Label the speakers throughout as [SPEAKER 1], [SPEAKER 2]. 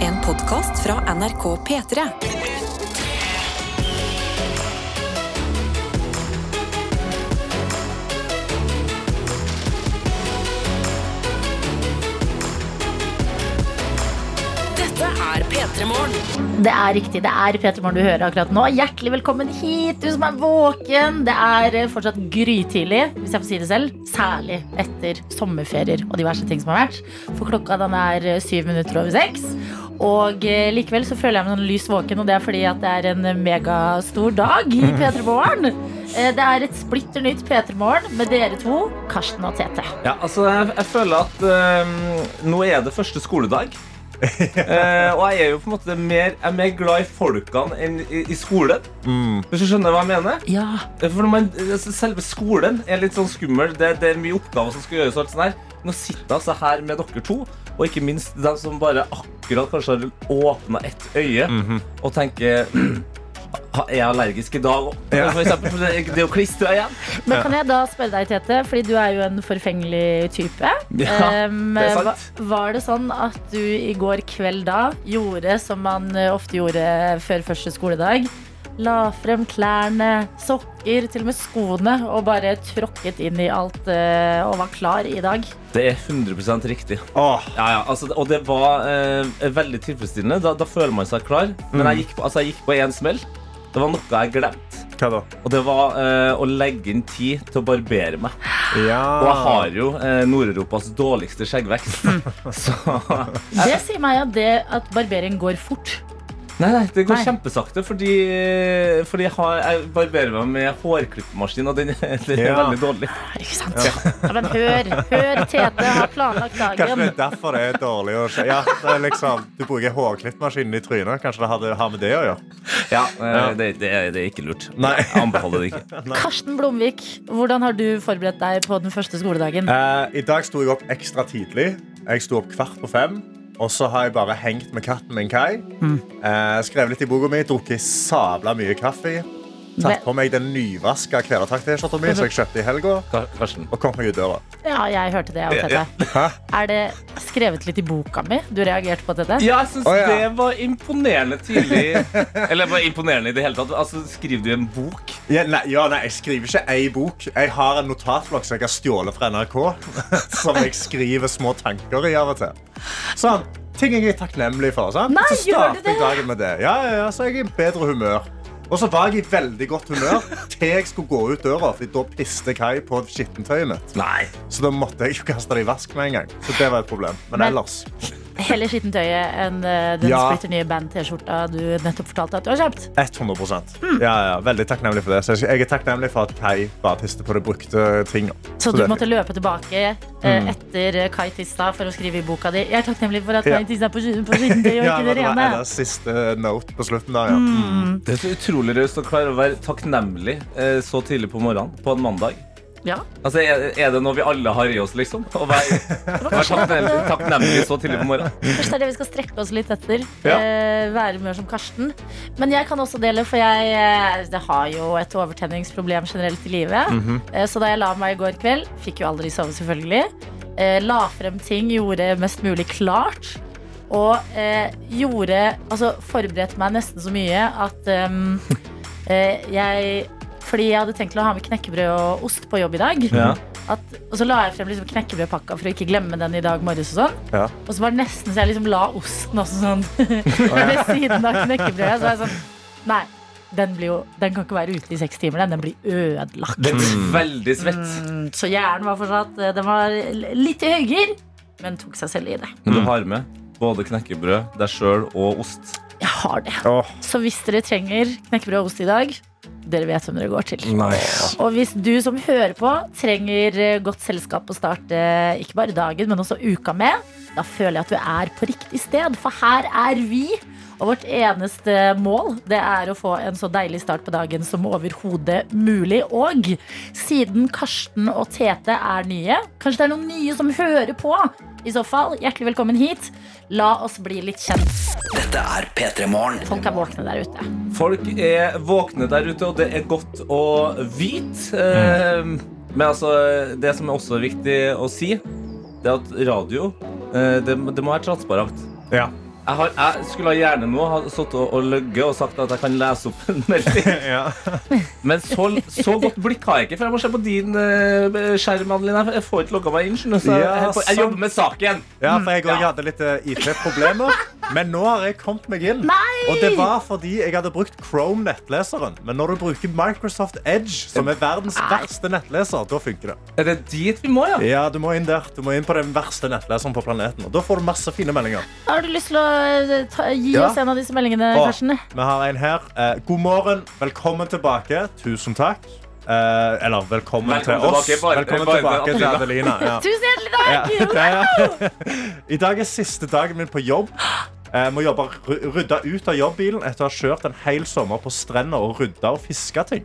[SPEAKER 1] En podkast fra NRK P3. Dette er P3 Morgen.
[SPEAKER 2] Det er riktig. Det er Peter Morgen du hører akkurat nå. Hjertelig velkommen hit, du som er våken. Det er eh, fortsatt grytidlig, hvis jeg får si det selv. Særlig etter sommerferier og diverse ting som har vært. For klokka den er eh, syv minutter over seks. Og eh, likevel så føler jeg meg sånn lys våken, og det er fordi at det er en eh, megastor dag i P3 Morgen. Eh, Det er et splitter nytt P3 Morgen med dere to, Karsten og Tete.
[SPEAKER 3] Ja, altså, jeg, jeg føler at øhm, nå er det første skoledag. Eh, og jeg er jo på en måte mer, jeg er mer glad i folkene enn i, i skolen. Hvis du skjønner hva jeg mener?
[SPEAKER 2] Ja.
[SPEAKER 3] For når man, altså, Selve skolen er litt sånn skummel. Det, det er mye oppgaver som skal gjøres. og alt sånt her. Nå sitter jeg altså her med dere to, og ikke minst dem som bare akkurat kanskje har åpna et øye, og tenker «Ha- Er jeg allergisk i dag òg? For eksempel for det, det å klistre igjen.
[SPEAKER 2] Men kan jeg da spørre deg, Tete, fordi du er jo en forfengelig type.
[SPEAKER 3] Ja,
[SPEAKER 2] Em,
[SPEAKER 3] det er sant.
[SPEAKER 2] hva- Eh, Var det sånn at du i går kveld da gjorde som man eh, ofte gjorde før første skoledag? La frem klærne, sokker, til og med skoene, og bare tråkket inn i alt eh, og var klar i dag?
[SPEAKER 3] Det er 100 riktig. Ja, ja, altså, og det var eh, veldig tilfredsstillende. Da, da føler man seg klar. Men jeg gikk, på- altså, jeg gikk på én smell. Det var noe jeg glemte.
[SPEAKER 4] Hva da?
[SPEAKER 3] Og det var eh, å legge inn tid til å barbere meg.
[SPEAKER 4] Ja.
[SPEAKER 3] Og jeg har jo eh, Nord-Europas dårligste skjeggvekst. Så
[SPEAKER 2] Det sier meg at, det, at barbering går fort.
[SPEAKER 3] Nei, nei, det går
[SPEAKER 2] Nei.
[SPEAKER 3] kjempesakte, fordi, fordi jeg, har, jeg barberer meg med hårklippemaskin, og den, den er
[SPEAKER 4] Ja.
[SPEAKER 3] veldig dårlig.
[SPEAKER 2] Ikke sant? Ja, men hør, hør, Tete har planlagt
[SPEAKER 4] Kanskje det
[SPEAKER 2] dagen.
[SPEAKER 4] er derfor det er dårlig å se. Ja, det er liksom, du bruker hårklippmaskinen i trynet. Kanskje det hadde- har med det å gjøre?
[SPEAKER 3] Ja, eh, Det, det, er- det er ikke lurt.
[SPEAKER 4] Nei.
[SPEAKER 3] Jeg anbefaler det ikke.
[SPEAKER 2] Karsten Blomvik, hvordan har du forberedt deg på den første skoledagen?
[SPEAKER 4] Eh, I dag sto jeg opp ekstra tidlig. Jeg sto opp kvart på fem. Og så har jeg bare hengt med katten min, Kai. Eh, skrevet litt i boka mi, drukket sabla mye kaffe.
[SPEAKER 2] Men-
[SPEAKER 4] Tatt på meg den nyvaska kvelertak-T-skjorta mi som jeg kjøpte i helga.
[SPEAKER 3] Kar- Karsten.
[SPEAKER 4] Og kom meg ut døra.
[SPEAKER 2] Ja, jeg hørte det. Jeg
[SPEAKER 4] Ja,
[SPEAKER 2] Tete.
[SPEAKER 4] Hæ?
[SPEAKER 2] Er det skrevet litt i boka mi? Du reagerte på dette?
[SPEAKER 3] Ja, jeg syns
[SPEAKER 4] Å, ja.
[SPEAKER 3] det var imponerende tidlig. Eller bare imponerende i det hele tatt. Altså, Skriver du en bok?
[SPEAKER 4] Ja, nei, ja, nei, jeg skriver ikke ei bok. Jeg har en notatblokk som jeg har stjålet fra NRK. Som jeg skriver små tanker i av og til. Sånn, ting jeg er takknemlig for. Sant?
[SPEAKER 2] Nei,
[SPEAKER 4] så
[SPEAKER 2] gjør du
[SPEAKER 4] starter jeg dagen med det. Ja, ja, ja, så er jeg i bedre humør. Og så var jeg i veldig godt humør til jeg skulle gå ut døra, for da piste Kai på skittentøyet mitt.
[SPEAKER 3] Nei.
[SPEAKER 4] Så da måtte jeg jo kaste det i vask med en gang. Så det var et problem. Men
[SPEAKER 2] Men-
[SPEAKER 4] ellers.
[SPEAKER 2] Heller skittentøyet enn eh, den
[SPEAKER 4] Ja.
[SPEAKER 2] splitter nye band-T-skjorta du nettopp fortalte at du har kjøpt.
[SPEAKER 4] 100
[SPEAKER 2] Hmm.
[SPEAKER 4] ja, ja, Veldig takknemlig for det. Så jeg jeg er takknemlig for at Kai bare piste på de brukte tingene.
[SPEAKER 2] Så
[SPEAKER 4] Så
[SPEAKER 2] du
[SPEAKER 4] det Mm. er
[SPEAKER 2] måtte løpe tilbake eh, etter eh, Kai Tista for å skrive i boka di. Jeg er takknemlig for at
[SPEAKER 4] Ja.
[SPEAKER 2] Kai Tista er på, ski- på skittentøy og
[SPEAKER 4] Ja,
[SPEAKER 2] ikke det
[SPEAKER 4] det var
[SPEAKER 2] rene. Mm.
[SPEAKER 4] Eddas siste note på slutten der, ja. Mm.
[SPEAKER 3] Det er så utrolig raust å klare å være takknemlig eh, så tidlig på morgenen på en mandag.
[SPEAKER 2] Ja.
[SPEAKER 3] Altså, Er, er det noe vi alle har i oss, liksom? Å være, være takknemlig, takknemlig så tidlig på morgenen?
[SPEAKER 2] Først er det vi skal strekke oss litt etter.
[SPEAKER 3] Ja.
[SPEAKER 2] Eh, være humør som Karsten. Men jeg kan også dele, for jeg, eh, det har jo et overtenningsproblem generelt i livet.
[SPEAKER 4] Mhm.
[SPEAKER 2] eh, så da jeg la meg i går kveld, fikk jo aldri sove, selvfølgelig. Eh, la frem ting, gjorde mest mulig klart. Og eh, gjorde Altså forberedte meg nesten så mye at ehm, eh, jeg fordi jeg hadde tenkt til å ha med knekkebrød og ost på jobb i dag.
[SPEAKER 3] Ja.
[SPEAKER 2] At, og så la jeg frem liksom knekkebrødpakka for å ikke glemme den i dag morges. og sånn
[SPEAKER 4] Ja.
[SPEAKER 2] og så var det nesten så jeg liksom la osten også sånn ved siden av knekkebrødet. Så var jeg sånn Nei, den, blir jo, den kan ikke være ute i seks timer, den. Den blir ødelagt.
[SPEAKER 3] Det blir veldig svett.
[SPEAKER 2] Mm, Så hjernen var fortsatt eh, Den var litt i høyger, men tok seg selv i det.
[SPEAKER 3] Men du har med både knekkebrød, deg sjøl og ost.
[SPEAKER 2] Jeg har det.
[SPEAKER 4] Åh,
[SPEAKER 2] Så hvis dere trenger knekkebrød og ost i dag, dere vet hvem dere går til.
[SPEAKER 3] Nice.
[SPEAKER 2] Og hvis du som hører på trenger eh, godt selskap å starte eh, ikke bare dagen, men også uka med, da føler jeg at du er på riktig sted, for her er vi. Og vårt eneste mål det er å få en så deilig start på dagen som overhodet mulig. Og siden Karsten og Tete er nye, kanskje det er noen nye som hører på. I så fall, hjertelig velkommen hit. La oss bli litt kjent.
[SPEAKER 5] Dette er P3 Morgen.
[SPEAKER 2] Folk er våkne der ute.
[SPEAKER 3] Folk er våkne der ute, og det er godt å vite.
[SPEAKER 4] Mm.
[SPEAKER 3] Eh, Men altså, det som er også viktig å si, det er at radio eh, det, det må være transparent.
[SPEAKER 4] ja.
[SPEAKER 3] Jeg, har, jeg skulle gjerne nå ha sittet og, og løyet og sagt at jeg kan lese opp en melding.
[SPEAKER 4] Ja.
[SPEAKER 3] Men så, så godt blikk har jeg ikke, for jeg må se på din eh, skjerm. Adeline. Jeg får ikke logga meg inn. skjønner du, Så jeg,
[SPEAKER 4] Ja,
[SPEAKER 3] jeg, jeg
[SPEAKER 4] sant.
[SPEAKER 3] jobber med saken.
[SPEAKER 4] Ja, for
[SPEAKER 2] Mm,
[SPEAKER 4] jeg også
[SPEAKER 3] Ja.
[SPEAKER 4] hadde litt eh, IT-problemer. Men nå har jeg kommet meg inn.
[SPEAKER 2] Nei!
[SPEAKER 4] Og det var fordi jeg hadde brukt Chrome-nettleseren. Men når du bruker Microsoft Edge, som er verdens verste nettleser, da funker det.
[SPEAKER 3] Er det dit vi må, ja?
[SPEAKER 4] Ja, Du må inn der. Du må inn på den verste nettleseren på planeten. Og da får du masse fine meldinger.
[SPEAKER 2] Har du lyst til å eh, ta, gi
[SPEAKER 4] Ja.
[SPEAKER 2] oss en av disse meldingene,
[SPEAKER 4] Og
[SPEAKER 2] Karsten?
[SPEAKER 4] vi har en her. Eh, God morgen. Velkommen tilbake. Tusen takk. Eh, eller velkommen,
[SPEAKER 3] Velkommen
[SPEAKER 4] til oss.
[SPEAKER 3] tilbake, bare-
[SPEAKER 4] velkommen
[SPEAKER 3] bare til
[SPEAKER 4] tilbake til Adelina. Ja.
[SPEAKER 2] Tusen hjertelig takk!
[SPEAKER 4] Ja, ja. I dag er siste dagen min på jobb. Jeg må jobbe, ry- rydde ut av jobbbilen etter å ha kjørt en hel sommer på strender og rydda og fiska ting.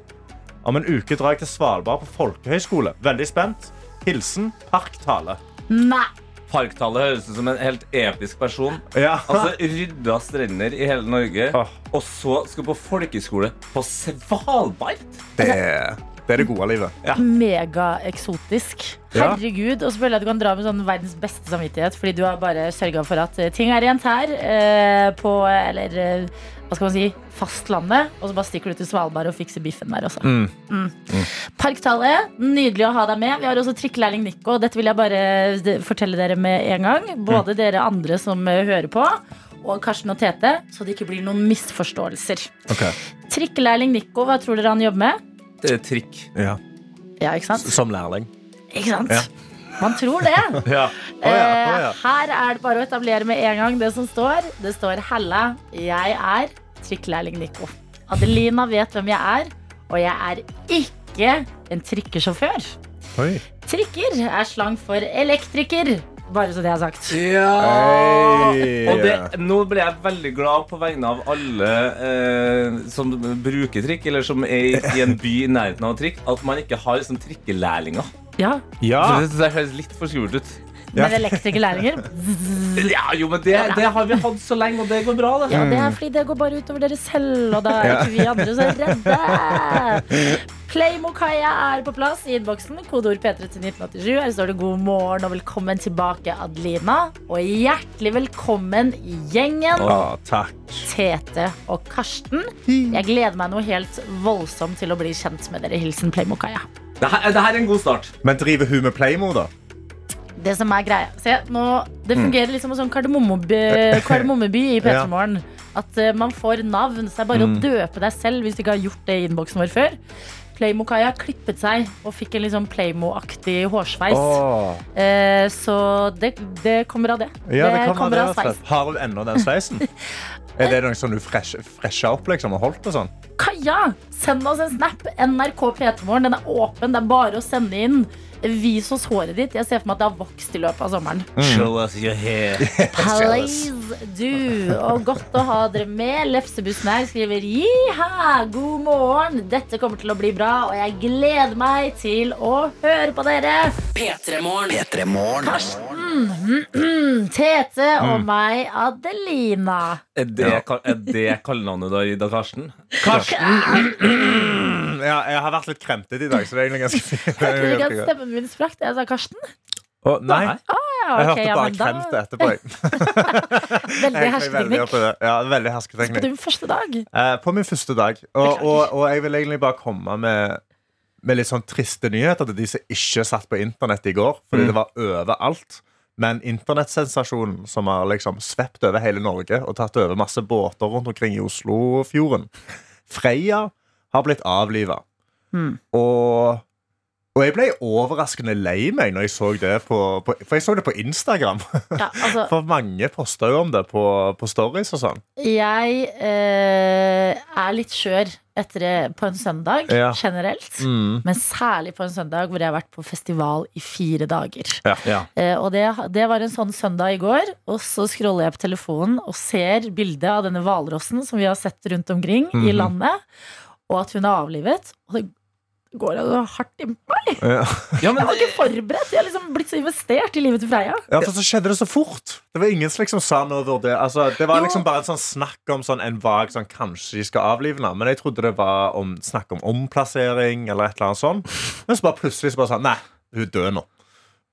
[SPEAKER 4] Om en uke drar jeg til Svalbard på folkehøyskole. Veldig spent. Hilsen Parktale.
[SPEAKER 2] Nei.
[SPEAKER 3] Parktallet høres ut som en helt episk person.
[SPEAKER 4] Ja.
[SPEAKER 3] Altså, Rydda strender i hele Norge,
[SPEAKER 4] Åh.
[SPEAKER 3] og så skal på folkeskole på Svalbard?
[SPEAKER 4] det, er- det er det gode livet.
[SPEAKER 2] Megaeksotisk.
[SPEAKER 4] Ja.
[SPEAKER 2] Herregud. Og så føler jeg at du kan dra med sånn verdens beste samvittighet, fordi du har bare sørga for at eh, ting er rent her eh, på eh, Eller eh, hva skal man si fastlandet. Og så bare stikker du til Svalbard og fikser biffen der også. Mm. Parktallet, nydelig å ha deg med. Vi har også trikkelærling Nico. Dette vil jeg bare d- fortelle dere med en gang. Både dere andre som eh, hører på, og Karsten og Tete, så det ikke blir noen misforståelser.
[SPEAKER 4] Ok.
[SPEAKER 2] Trikkelærling Nico, hva tror dere han jobber med?
[SPEAKER 3] Det er trikk.
[SPEAKER 2] Ja, ikke sant?
[SPEAKER 4] Som lærling.
[SPEAKER 2] Ikke sant?
[SPEAKER 4] Ja.
[SPEAKER 2] Man tror det.
[SPEAKER 4] Ja. Å ja, å ja.
[SPEAKER 2] Eh, Her er det bare å etablere med en gang det som står. Det står 'Hella, jeg er trikkelærling Nico'. Adelina vet hvem jeg er, og jeg er ikke en trikkesjåfør.
[SPEAKER 4] Oi.
[SPEAKER 2] Trikker er slang for elektriker, bare så det er sagt.
[SPEAKER 4] Hey.
[SPEAKER 3] Og det, nå ble jeg veldig glad på vegne av alle eh, som bruker trikk, eller som er i en by i nærheten av trikk, at man ikke har sånn trikkelærlinger.
[SPEAKER 2] Ja,
[SPEAKER 3] For
[SPEAKER 4] Ja.
[SPEAKER 3] Det synes jeg høres litt for skummelt ut.
[SPEAKER 2] Men elektrikerlærlinger
[SPEAKER 3] Ja, jo, men det, det har vi hatt så lenge, og det går bra, det.
[SPEAKER 2] Ja, det er fordi det går bare utover dere selv, og da er ikke vi andre så redde. Playmokaia er på plass i innboksen. Kodeord P3 til 1987. Her står det 'God morgen og velkommen tilbake, Adelina'. Og hjertelig velkommen i gjengen,
[SPEAKER 4] Å, takk.
[SPEAKER 2] Tete og Karsten. Jeg gleder meg noe helt voldsomt til å bli kjent med dere. Hilsen Playmokaia.
[SPEAKER 3] Det her, det her er en god start.
[SPEAKER 4] Men driver hun med Playmo, da?
[SPEAKER 2] Det som er greia Se, nå, Det fungerer litt som en sånn kardemommeby, kardemommeby i
[SPEAKER 4] Mm. Ja.
[SPEAKER 2] P3
[SPEAKER 4] Mm.
[SPEAKER 2] Morgen. At eh, man får navn. Så det er bare å døpe deg selv hvis du ikke har gjort det i innboksen vår før. Playmo-Kaja klippet seg og fikk en litt sånn Playmo-aktig hårsveis.
[SPEAKER 4] Åh.
[SPEAKER 2] Eh, så det, det kommer av det.
[SPEAKER 4] Ja, det
[SPEAKER 2] det
[SPEAKER 4] kommer
[SPEAKER 2] kommer
[SPEAKER 4] av
[SPEAKER 2] av
[SPEAKER 4] det, altså. rett og
[SPEAKER 2] sveis.
[SPEAKER 4] slett. Har du ennå den sveisen? Er det noe som du fresh, fresha opp liksom, og holdt? og sånn?
[SPEAKER 2] Kaja, send oss en snap. NRK P3morgen. Den er åpen. Det er bare å sende inn. Vis oss håret ditt. Jeg ser for meg at det har vokst i løpet av sommeren.
[SPEAKER 3] Show us your hair.
[SPEAKER 2] Please do. Og godt å ha dere med. Lefsebussen her skriver Jiha, god morgen. Dette kommer til å bli bra, og jeg gleder meg til å høre på dere.
[SPEAKER 1] P3 Morgen.
[SPEAKER 5] P3 Morgen.
[SPEAKER 2] Tete
[SPEAKER 4] Mm.
[SPEAKER 2] og meg, Adelina.
[SPEAKER 3] Er det, er det kallenavnet du har gitt av Karsten? Karsten!
[SPEAKER 4] Ja, jeg har vært litt kremtet i dag, så det er egentlig ganske fint.
[SPEAKER 2] Jeg tror ikke at stemmen min sprakk. Jeg sa Karsten.
[SPEAKER 4] Å, nei,
[SPEAKER 2] Ja,
[SPEAKER 4] jeg
[SPEAKER 2] ok,
[SPEAKER 4] hørte
[SPEAKER 2] ja,
[SPEAKER 4] bare
[SPEAKER 2] men da-
[SPEAKER 4] kremt etterpå. jeg.
[SPEAKER 2] Veldig
[SPEAKER 4] Jeg gikk veldig opp
[SPEAKER 2] hersketeknikk.
[SPEAKER 4] i det. Ja, veldig
[SPEAKER 2] På
[SPEAKER 4] hersketeknikk.
[SPEAKER 2] din første dag.
[SPEAKER 4] Eh, På min første dag. Og, og, og jeg vil egentlig bare komme med, med litt sånn triste nyheter til de som ikke satt på internett i går, fordi det var overalt. Men internettsensasjonen som har liksom svept over hele Norge og tatt over masse båter rundt omkring i Oslofjorden Freya har blitt avliva. Og og jeg ble overraskende lei meg når jeg så det på, på For jeg så det på Instagram.
[SPEAKER 2] Ja, altså,
[SPEAKER 4] For mange posta jo om det på, på stories og sånn.
[SPEAKER 2] jeg eh, er litt skjør etter, det- på en søndag
[SPEAKER 4] Ja.
[SPEAKER 2] generelt. Men særlig på en søndag hvor jeg har vært på festival i fire dager.
[SPEAKER 4] Ja. Ja.
[SPEAKER 2] Eh, og det, det var en sånn søndag i går, og så scroller jeg på telefonen og ser bildet av denne hvalrossen som vi har sett rundt omkring
[SPEAKER 4] Mhm.
[SPEAKER 2] i landet, og at hun er avlivet. Og det går jo hardt inn på meg.
[SPEAKER 3] Ja, men
[SPEAKER 2] Jeg var ikke forberedt. Jeg har liksom blitt så investert i livet til Freia.
[SPEAKER 4] Ja, for så skjedde det så fort. Det var ingen som liksom sa noe over det. Altså, det var
[SPEAKER 2] Jo.
[SPEAKER 4] liksom bare en sånn snakk om sånn en vag sånn, Kanskje de skal avlive den. Men jeg trodde det var om, snakk om omplassering eller et eller annet sånt. Men så bare plutselig så bare sånn Nei, hun er død nå.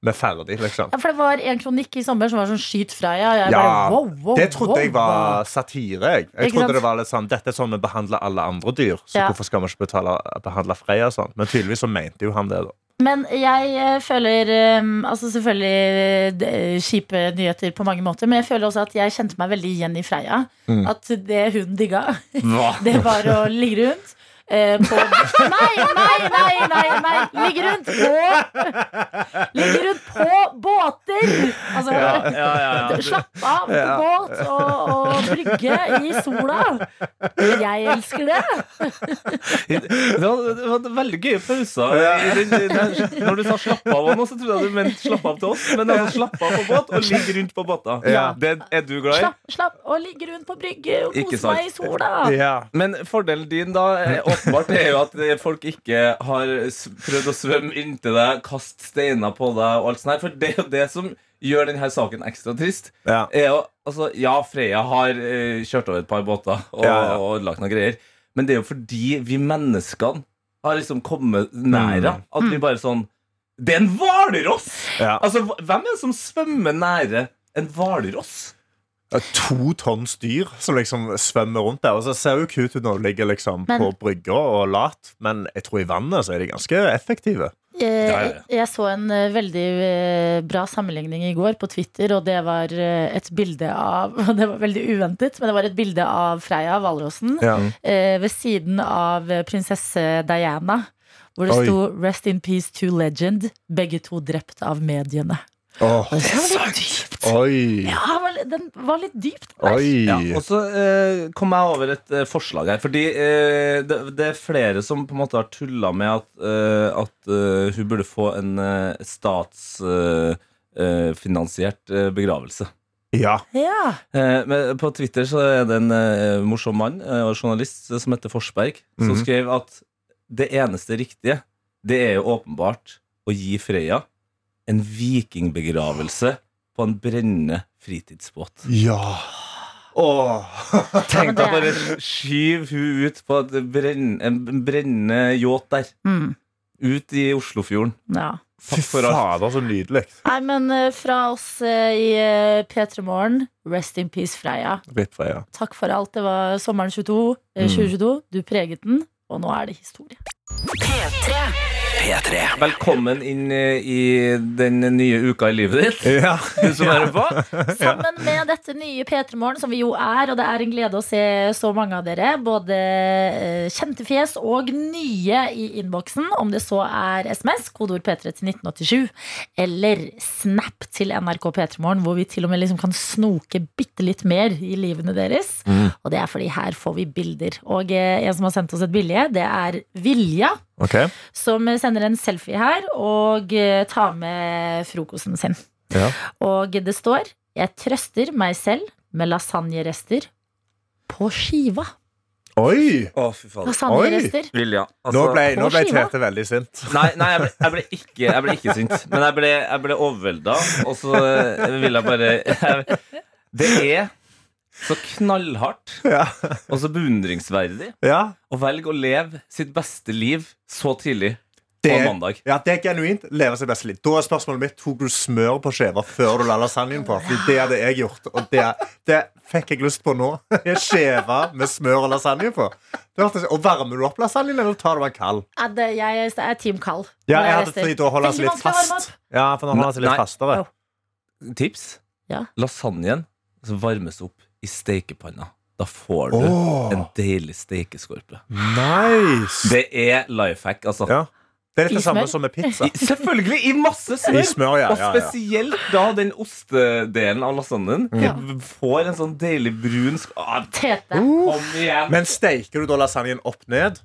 [SPEAKER 4] Vi er ferdig, liksom.
[SPEAKER 2] Ja, for det var en kronikk i sommer som var sånn skyt fra ja. og Jeg
[SPEAKER 4] Ja,
[SPEAKER 2] bare, wow, wow,
[SPEAKER 4] det trodde
[SPEAKER 2] wow,
[SPEAKER 4] jeg var satire. Jeg, jeg
[SPEAKER 2] Ikke sant?
[SPEAKER 4] trodde det var litt sånn Dette er sånn vi behandler alle andre dyr, så
[SPEAKER 2] Ja.
[SPEAKER 4] hvorfor skal vi ikke betale, behandle Freya sånn? Men tydeligvis så mente jo han det, da.
[SPEAKER 2] Men jeg eh, føler ehm, Altså selvfølgelig eh, kjipe nyheter på mange måter, men jeg føler også at jeg kjente meg veldig igjen i Freya.
[SPEAKER 3] Mm.
[SPEAKER 2] At det hun digga, det var å ligge rundt. eh, på Nei, nei, nei! nei, nei Ligge rundt på Ligge rundt på båter! Altså,
[SPEAKER 3] Ja, ja, ja.
[SPEAKER 2] Slapp av på båt og, og brygge i sola. Jeg elsker det.
[SPEAKER 3] Det var, det var veldig gøye pauser. I den- i den- Når du sa 'slapp av' av noe, så trodde jeg du mente 'slapp av' til oss. Men altså 'slapp av' på båt og ligg rundt på båter.
[SPEAKER 2] Ja.
[SPEAKER 3] Det er du glad i.
[SPEAKER 2] Slapp, slapp og ligge rundt på brygge og
[SPEAKER 3] Ikke
[SPEAKER 2] kose
[SPEAKER 3] sant.
[SPEAKER 2] meg i sola.
[SPEAKER 3] Men fordelen din da eh, åpenbart er jo at eh, folk ikke har s- prøvd å svømme inntil deg, kaste steiner på deg og alt sånt her. For det er jo det som gjør denne saken ekstra trist.
[SPEAKER 4] Ja.
[SPEAKER 3] Er jo, altså, ja, Freya har eh, kjørt over et par båter og,
[SPEAKER 4] Ja, ja.
[SPEAKER 3] og ødelagt noen greier. Men det er jo fordi vi menneskene har liksom kommet nær henne. At vi bare sånn Det er en hvalross!
[SPEAKER 4] Mm. Ja.
[SPEAKER 3] Altså, hva- hvem er det som svømmer nære en hvalross?
[SPEAKER 4] Ja, To tonns dyr som liksom svømmer rundt der. Og så ser hun cute ut når hun ligger liksom
[SPEAKER 2] Men-
[SPEAKER 4] på brygga og lat, men jeg tror i vannet så er de ganske effektive.
[SPEAKER 3] Ja, ja,
[SPEAKER 2] Jeg,
[SPEAKER 3] ja.
[SPEAKER 2] Eh, jeg så en eh, veldig eh, bra sammenligning i går på Twitter, og det var eh, et bilde av Det var veldig uventet, men det var et bilde av Freya Hvalrossen eh, ved siden av eh, prinsesse Diana. Hvor det
[SPEAKER 4] Oi.
[SPEAKER 2] sto 'Rest in peace to legend'. Begge to drept av mediene.
[SPEAKER 4] Åh,
[SPEAKER 2] Det var litt dypt.
[SPEAKER 4] Oi.
[SPEAKER 2] Ja, den var- den var litt dypt.
[SPEAKER 4] Oi.
[SPEAKER 3] Ja, og så eh, kom jeg over et eh, forslag her. Fordi eh, det, det er flere som på en måte har tulla med at, eh, at eh, hun burde få en statsfinansiert eh, eh, finansiert, eh, begravelse.
[SPEAKER 4] Ja.
[SPEAKER 2] Ja.
[SPEAKER 3] Eh, men på Twitter så er det en eh, morsom mann eh, og journalist som heter Forsberg, som
[SPEAKER 4] Mhm.
[SPEAKER 3] skrev at det eneste riktige, det er jo åpenbart å gi Freya en vikingbegravelse på en brennende fritidsbåt.
[SPEAKER 4] Ja. Åh.
[SPEAKER 2] Ja,
[SPEAKER 3] Tenk deg
[SPEAKER 2] men det
[SPEAKER 3] bare
[SPEAKER 2] er-
[SPEAKER 3] skyv hun ut på et brenn, en brennende yacht der.
[SPEAKER 2] Mm,
[SPEAKER 3] Ut i Oslofjorden.
[SPEAKER 2] ja.
[SPEAKER 4] Fy
[SPEAKER 3] for alt.
[SPEAKER 4] fader, så nydelig.
[SPEAKER 2] Nei, men eh, fra oss eh, i P3 Morgen, rest in peace, Freya.
[SPEAKER 4] Rip Freya.
[SPEAKER 2] Takk for alt. Det var sommeren 22, eh, 2022. Du preget den, og nå er det historie.
[SPEAKER 5] P3
[SPEAKER 3] Velkommen inn eh, i den nye uka i livet ditt.
[SPEAKER 4] Ja.
[SPEAKER 3] Du som hører på.
[SPEAKER 2] Sammen med dette nye P3 Morgen, som vi jo er, og det er en glede å se så mange av dere. Både eh, kjente fjes og nye i innboksen. Om det så er SMS, kodeord P3 til 1987, eller Snap til NRK P3 Morgen, hvor vi til og med liksom kan snoke bitte litt mer i livene deres. Og det er fordi her får vi bilder. Og eh, en som har sendt oss et bilde, det er Vilja.
[SPEAKER 4] Ok.
[SPEAKER 2] som sender en selfie her og eh, tar med frokosten sin.
[SPEAKER 4] Ja.
[SPEAKER 2] Og det står 'Jeg trøster meg selv med lasagnerester på skiva'.
[SPEAKER 4] Oi!
[SPEAKER 3] Å, fy faen.
[SPEAKER 2] Lasagnerester.
[SPEAKER 3] Vilja.
[SPEAKER 4] Altså-
[SPEAKER 3] altså-
[SPEAKER 4] Nå ble,
[SPEAKER 2] på
[SPEAKER 4] nå ble
[SPEAKER 2] skiva.
[SPEAKER 4] Tete veldig sint.
[SPEAKER 3] Nei, nei jeg, ble, jeg, ble ikke, jeg ble ikke sint. Men jeg ble, jeg ble overvelda, og så eh, vil jeg bare jeg, Det er så knallhardt
[SPEAKER 4] Ja.
[SPEAKER 3] og så beundringsverdig
[SPEAKER 4] ja.
[SPEAKER 3] å velge å leve sitt beste liv så tidlig
[SPEAKER 4] Det,
[SPEAKER 3] på
[SPEAKER 4] er-
[SPEAKER 3] mandag.
[SPEAKER 4] ja, det er genuint. Leve seg best litt. Da er spørsmålet mitt tok du smør på skiva før du la lasagnen på. Fordi det hadde jeg gjort, og det, det fikk jeg lyst på nå. Skive med smør og lasagne på. Det hørtes- og Varmer du opp lasagnen, eller tar du den kald?
[SPEAKER 2] Ja, det- eh, Jeg er team kald.
[SPEAKER 4] Ja, jeg hadde tenkt å holde den
[SPEAKER 2] Veldig
[SPEAKER 4] litt
[SPEAKER 2] vanskelig å varme
[SPEAKER 4] fast. Ja, for nå holder den seg
[SPEAKER 3] Nei.
[SPEAKER 4] litt fastere.
[SPEAKER 3] Tips?
[SPEAKER 2] Ja.
[SPEAKER 3] Lasagnen som varmes opp i stekepanna. Da får du
[SPEAKER 4] Åh.
[SPEAKER 3] en deilig stekeskorpe.
[SPEAKER 4] Nice!
[SPEAKER 3] Det er life hack, altså.
[SPEAKER 4] Ja. Det er
[SPEAKER 2] I
[SPEAKER 4] litt det samme
[SPEAKER 2] smør?
[SPEAKER 4] som med pizza.
[SPEAKER 3] I, selvfølgelig! I masse smør!
[SPEAKER 4] I smør, ja,
[SPEAKER 3] Og
[SPEAKER 4] ja, ja.
[SPEAKER 3] spesielt da den ostedelen av lasagnen.
[SPEAKER 2] Ja.
[SPEAKER 3] Får en sånn deilig brun sk- ah,
[SPEAKER 2] Tete.
[SPEAKER 4] Oh. Uh.
[SPEAKER 3] Kom igjen!
[SPEAKER 4] Men steiker du da lasagnen opp ned?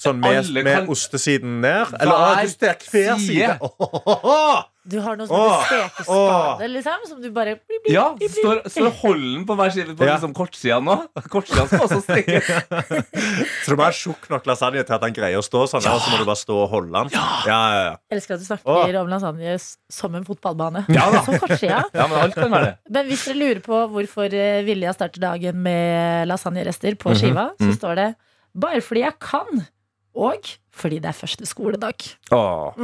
[SPEAKER 4] Sånn med,
[SPEAKER 3] Alle
[SPEAKER 4] med
[SPEAKER 3] kan-
[SPEAKER 4] ostesiden ned? Eller å, du steker hver side?
[SPEAKER 3] side.
[SPEAKER 4] Åhåhå!
[SPEAKER 2] Du har noe som heter
[SPEAKER 4] Åh,
[SPEAKER 2] stekeskade, liksom. Som du bare
[SPEAKER 3] Ja, står, står holden på hver side på
[SPEAKER 4] Ja.
[SPEAKER 3] liksom kortsida nå. Kortsida skal også stikke.
[SPEAKER 4] Så du må ha tjukk nok lasagne til at den greier å stå sånn, eller så må du bare stå og holde den. Ja, ja, ja.
[SPEAKER 2] Jeg elsker at du snakker om lasagne s- som en fotballbane.
[SPEAKER 3] Ja da.
[SPEAKER 2] Som kortsida.
[SPEAKER 3] Ja, men alt kan være det.
[SPEAKER 2] Men hvis dere lurer på hvorfor eh, Vilja starter dagen med lasagnerester på skiva, så står det bare fordi jeg kan. og fordi det er første skoledag.
[SPEAKER 4] Åh,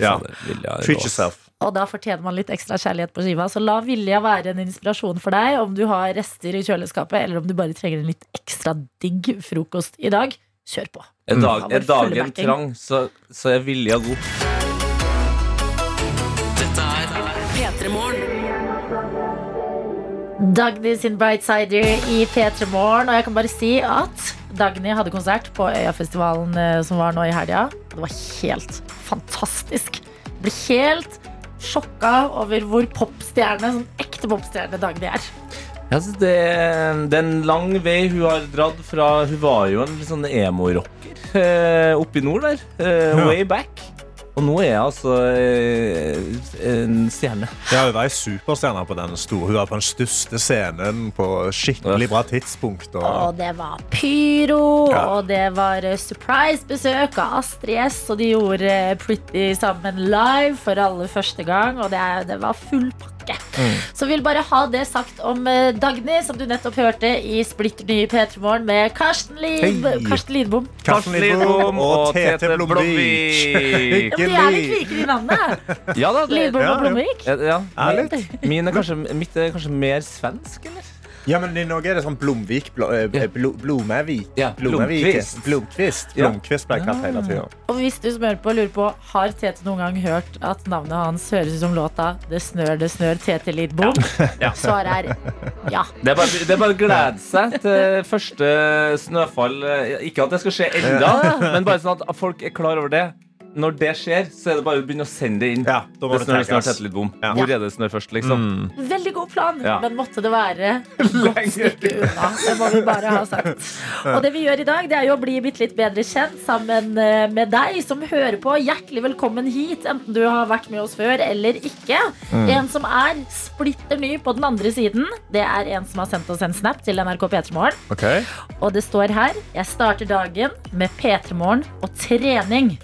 [SPEAKER 4] ja.
[SPEAKER 6] Fader, Vilja er
[SPEAKER 4] Treat
[SPEAKER 6] rå, ass.
[SPEAKER 4] yourself.
[SPEAKER 2] Og da fortjener man litt ekstra kjærlighet på skiva. Så la Vilja være en inspirasjon for deg om du har rester i kjøleskapet, eller om du bare trenger en litt ekstra digg frokost i dag. Kjør på.
[SPEAKER 3] Er, dag,
[SPEAKER 2] Mm.
[SPEAKER 3] er dagen
[SPEAKER 2] Fullbacking.
[SPEAKER 3] trang, så, så er vilja god.
[SPEAKER 1] P3morgen.
[SPEAKER 2] Dagny sin Brightsider i P3 Morgen. Og jeg kan bare si at Dagny hadde konsert på Øyafestivalen eh, som var nå i helga. Det var helt fantastisk. Jeg Ble helt sjokka over hvor popstjerne, sånn ekte popstjerne Dagny er.
[SPEAKER 3] Jeg synes det, det er en lang vei hun har dratt fra Hun var jo en litt sånn emo-rocker eh, oppe i nord der. Eh,
[SPEAKER 4] Ja.
[SPEAKER 3] Way back. Og nå er jeg altså eh, en stjerne.
[SPEAKER 4] Ja, hun var ei superstjerne på den store. Hun var på den største scenen på skikkelig bra tidspunkt. Og
[SPEAKER 2] Og det var pyro,
[SPEAKER 4] Ja.
[SPEAKER 2] og det var eh, surprise-besøk av Astrid S. Og de gjorde eh, Pretty sammen live for aller første gang, og det, er- det var full pakke.
[SPEAKER 4] Mm.
[SPEAKER 2] Så vil bare ha det sagt om eh, Dagny, som du nettopp hørte i Splitter nye P3 Morgen med Karsten, Lid
[SPEAKER 4] Hei.
[SPEAKER 2] Karsten Lidbom.
[SPEAKER 4] Karsten Lidbom og Tete Blomvik.
[SPEAKER 2] Ja, men de er litt like i navnet.
[SPEAKER 3] Ja da, det,
[SPEAKER 2] Lidbom
[SPEAKER 4] Ja,
[SPEAKER 2] og
[SPEAKER 4] jo.
[SPEAKER 2] Blomvik.
[SPEAKER 3] ja, ja.
[SPEAKER 4] Ærlig.
[SPEAKER 3] Min er kanskje, mitt er kanskje mer svensk, eller?
[SPEAKER 4] Ja, men i Norge er det sånn Blomvik bl Blomavik.
[SPEAKER 3] Ja,
[SPEAKER 4] Blomavik.
[SPEAKER 3] Blomkvist.
[SPEAKER 4] Blomkvist.
[SPEAKER 3] Ja. Ah.
[SPEAKER 4] Blomkvist ble kalt hele tida.
[SPEAKER 2] Og hvis du som hører på lurer på Har Tete noen gang hørt at navnet hans høres ut som låta Det snør, det snør, Tete Lidbom? Svaret er ja.
[SPEAKER 3] Det er bare, det er bare å glede seg til første snøfall. Ikke at det skal skje ennå, men bare sånn at folk er klar over det. Når det skjer, så er det bare å begynne å sende det inn.
[SPEAKER 4] Ja, da må
[SPEAKER 3] det
[SPEAKER 4] det
[SPEAKER 3] snør, det snør,
[SPEAKER 4] taggast.
[SPEAKER 3] tett litt bom.
[SPEAKER 4] Ja. Mm.
[SPEAKER 3] Hvor er det snør først, liksom?
[SPEAKER 2] Veldig god plan,
[SPEAKER 3] Ja.
[SPEAKER 2] men måtte det være
[SPEAKER 3] Lenger.
[SPEAKER 2] stykke unna. Det må vi bare ha sagt. Og det vi gjør i dag, det er jo å bli bitte litt bedre kjent sammen eh, med deg som hører på. Hjertelig velkommen hit, enten du har vært med oss før eller ikke. En som er splitter ny på den andre siden, det er en som har sendt oss en snap til NRK P3morgen. Og det står her Jeg starter dagen med P3morgen og trening.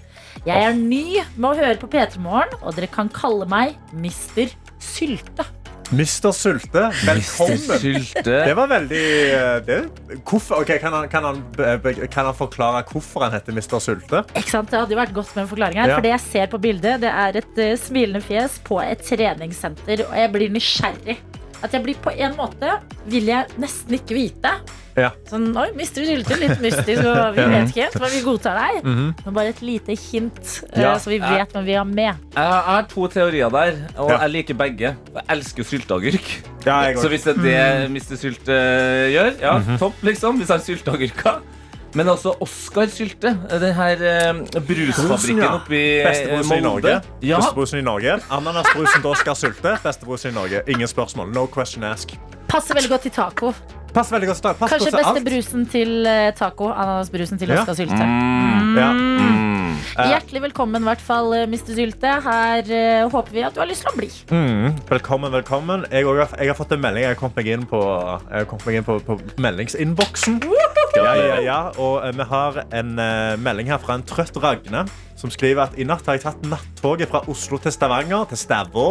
[SPEAKER 2] Jeg er ny med å høre på P3morgen, og dere kan kalle meg Mister Sylte.
[SPEAKER 4] Mister Sulte, velkommen.
[SPEAKER 3] Sylte.
[SPEAKER 4] Det var veldig eh, det, hvorfor, ok, kan, han, kan, han, be- be- kan han forklare hvorfor han heter Mr. Sulte?
[SPEAKER 2] Ikke sant? Det hadde jo vært godt med en forklaring her.
[SPEAKER 4] Ja.
[SPEAKER 2] For det jeg ser på bildet, det er et eh, smilende fjes på et treningssenter, og jeg blir nysgjerrig. At jeg blir på en måte vil jeg nesten ikke vite.
[SPEAKER 4] Ja.
[SPEAKER 2] Sånn, oi, mister du skylden? Litt mystisk, og vi vet ikke helt, men vi godtar deg.
[SPEAKER 4] Mhm.
[SPEAKER 2] Men bare et lite hint, eh,
[SPEAKER 3] Ja.
[SPEAKER 2] så vi vet hvem vi har med.
[SPEAKER 3] Jeg har to teorier der, og
[SPEAKER 4] Ja.
[SPEAKER 3] jeg liker begge. Jeg elsker sylteagurk.
[SPEAKER 4] Ja, jeg
[SPEAKER 3] Så
[SPEAKER 4] går-
[SPEAKER 3] hvis det er det Mr. Sylte eh, gjør, ja, topp, liksom. Hvis han sylteagurker. Men også Oscar Sylte. Den her eh,
[SPEAKER 4] Brusen,
[SPEAKER 3] brusfabrikken
[SPEAKER 4] ja.
[SPEAKER 3] oppe i eh,
[SPEAKER 4] Bestebrusen i Norge.
[SPEAKER 3] Molde. Ja,
[SPEAKER 4] Bestebrusen i Norge. Ananasbrusen til Oskar Sulte. Bestebrusen i Norge. Ingen spørsmål. No question ask.
[SPEAKER 2] Passer veldig godt til taco.
[SPEAKER 4] Pass veldig godt. Pass
[SPEAKER 2] Kanskje
[SPEAKER 4] godt til
[SPEAKER 2] beste
[SPEAKER 4] alt.
[SPEAKER 2] brusen til eh, taco. Ananasbrusen til
[SPEAKER 4] Ja. Mm.
[SPEAKER 2] Oskar Sylte.
[SPEAKER 4] Ja.
[SPEAKER 2] Hjertelig velkommen, i hvert fall, eh, Mr. Sylte. Her eh, håper vi at du har lyst til å bli.
[SPEAKER 4] Mm, velkommen, velkommen. Jeg, også, har- jeg har fått en melding. Jeg har kommet meg inn på, jeg har kommet meg inn på, på meldingsinnboksen. Ja, ja, ja. Og eh, vi har en eh, melding her fra en trøtt Ragne, som skriver at i natt har jeg tatt nattoget fra Oslo til Stavanger, til Stavå,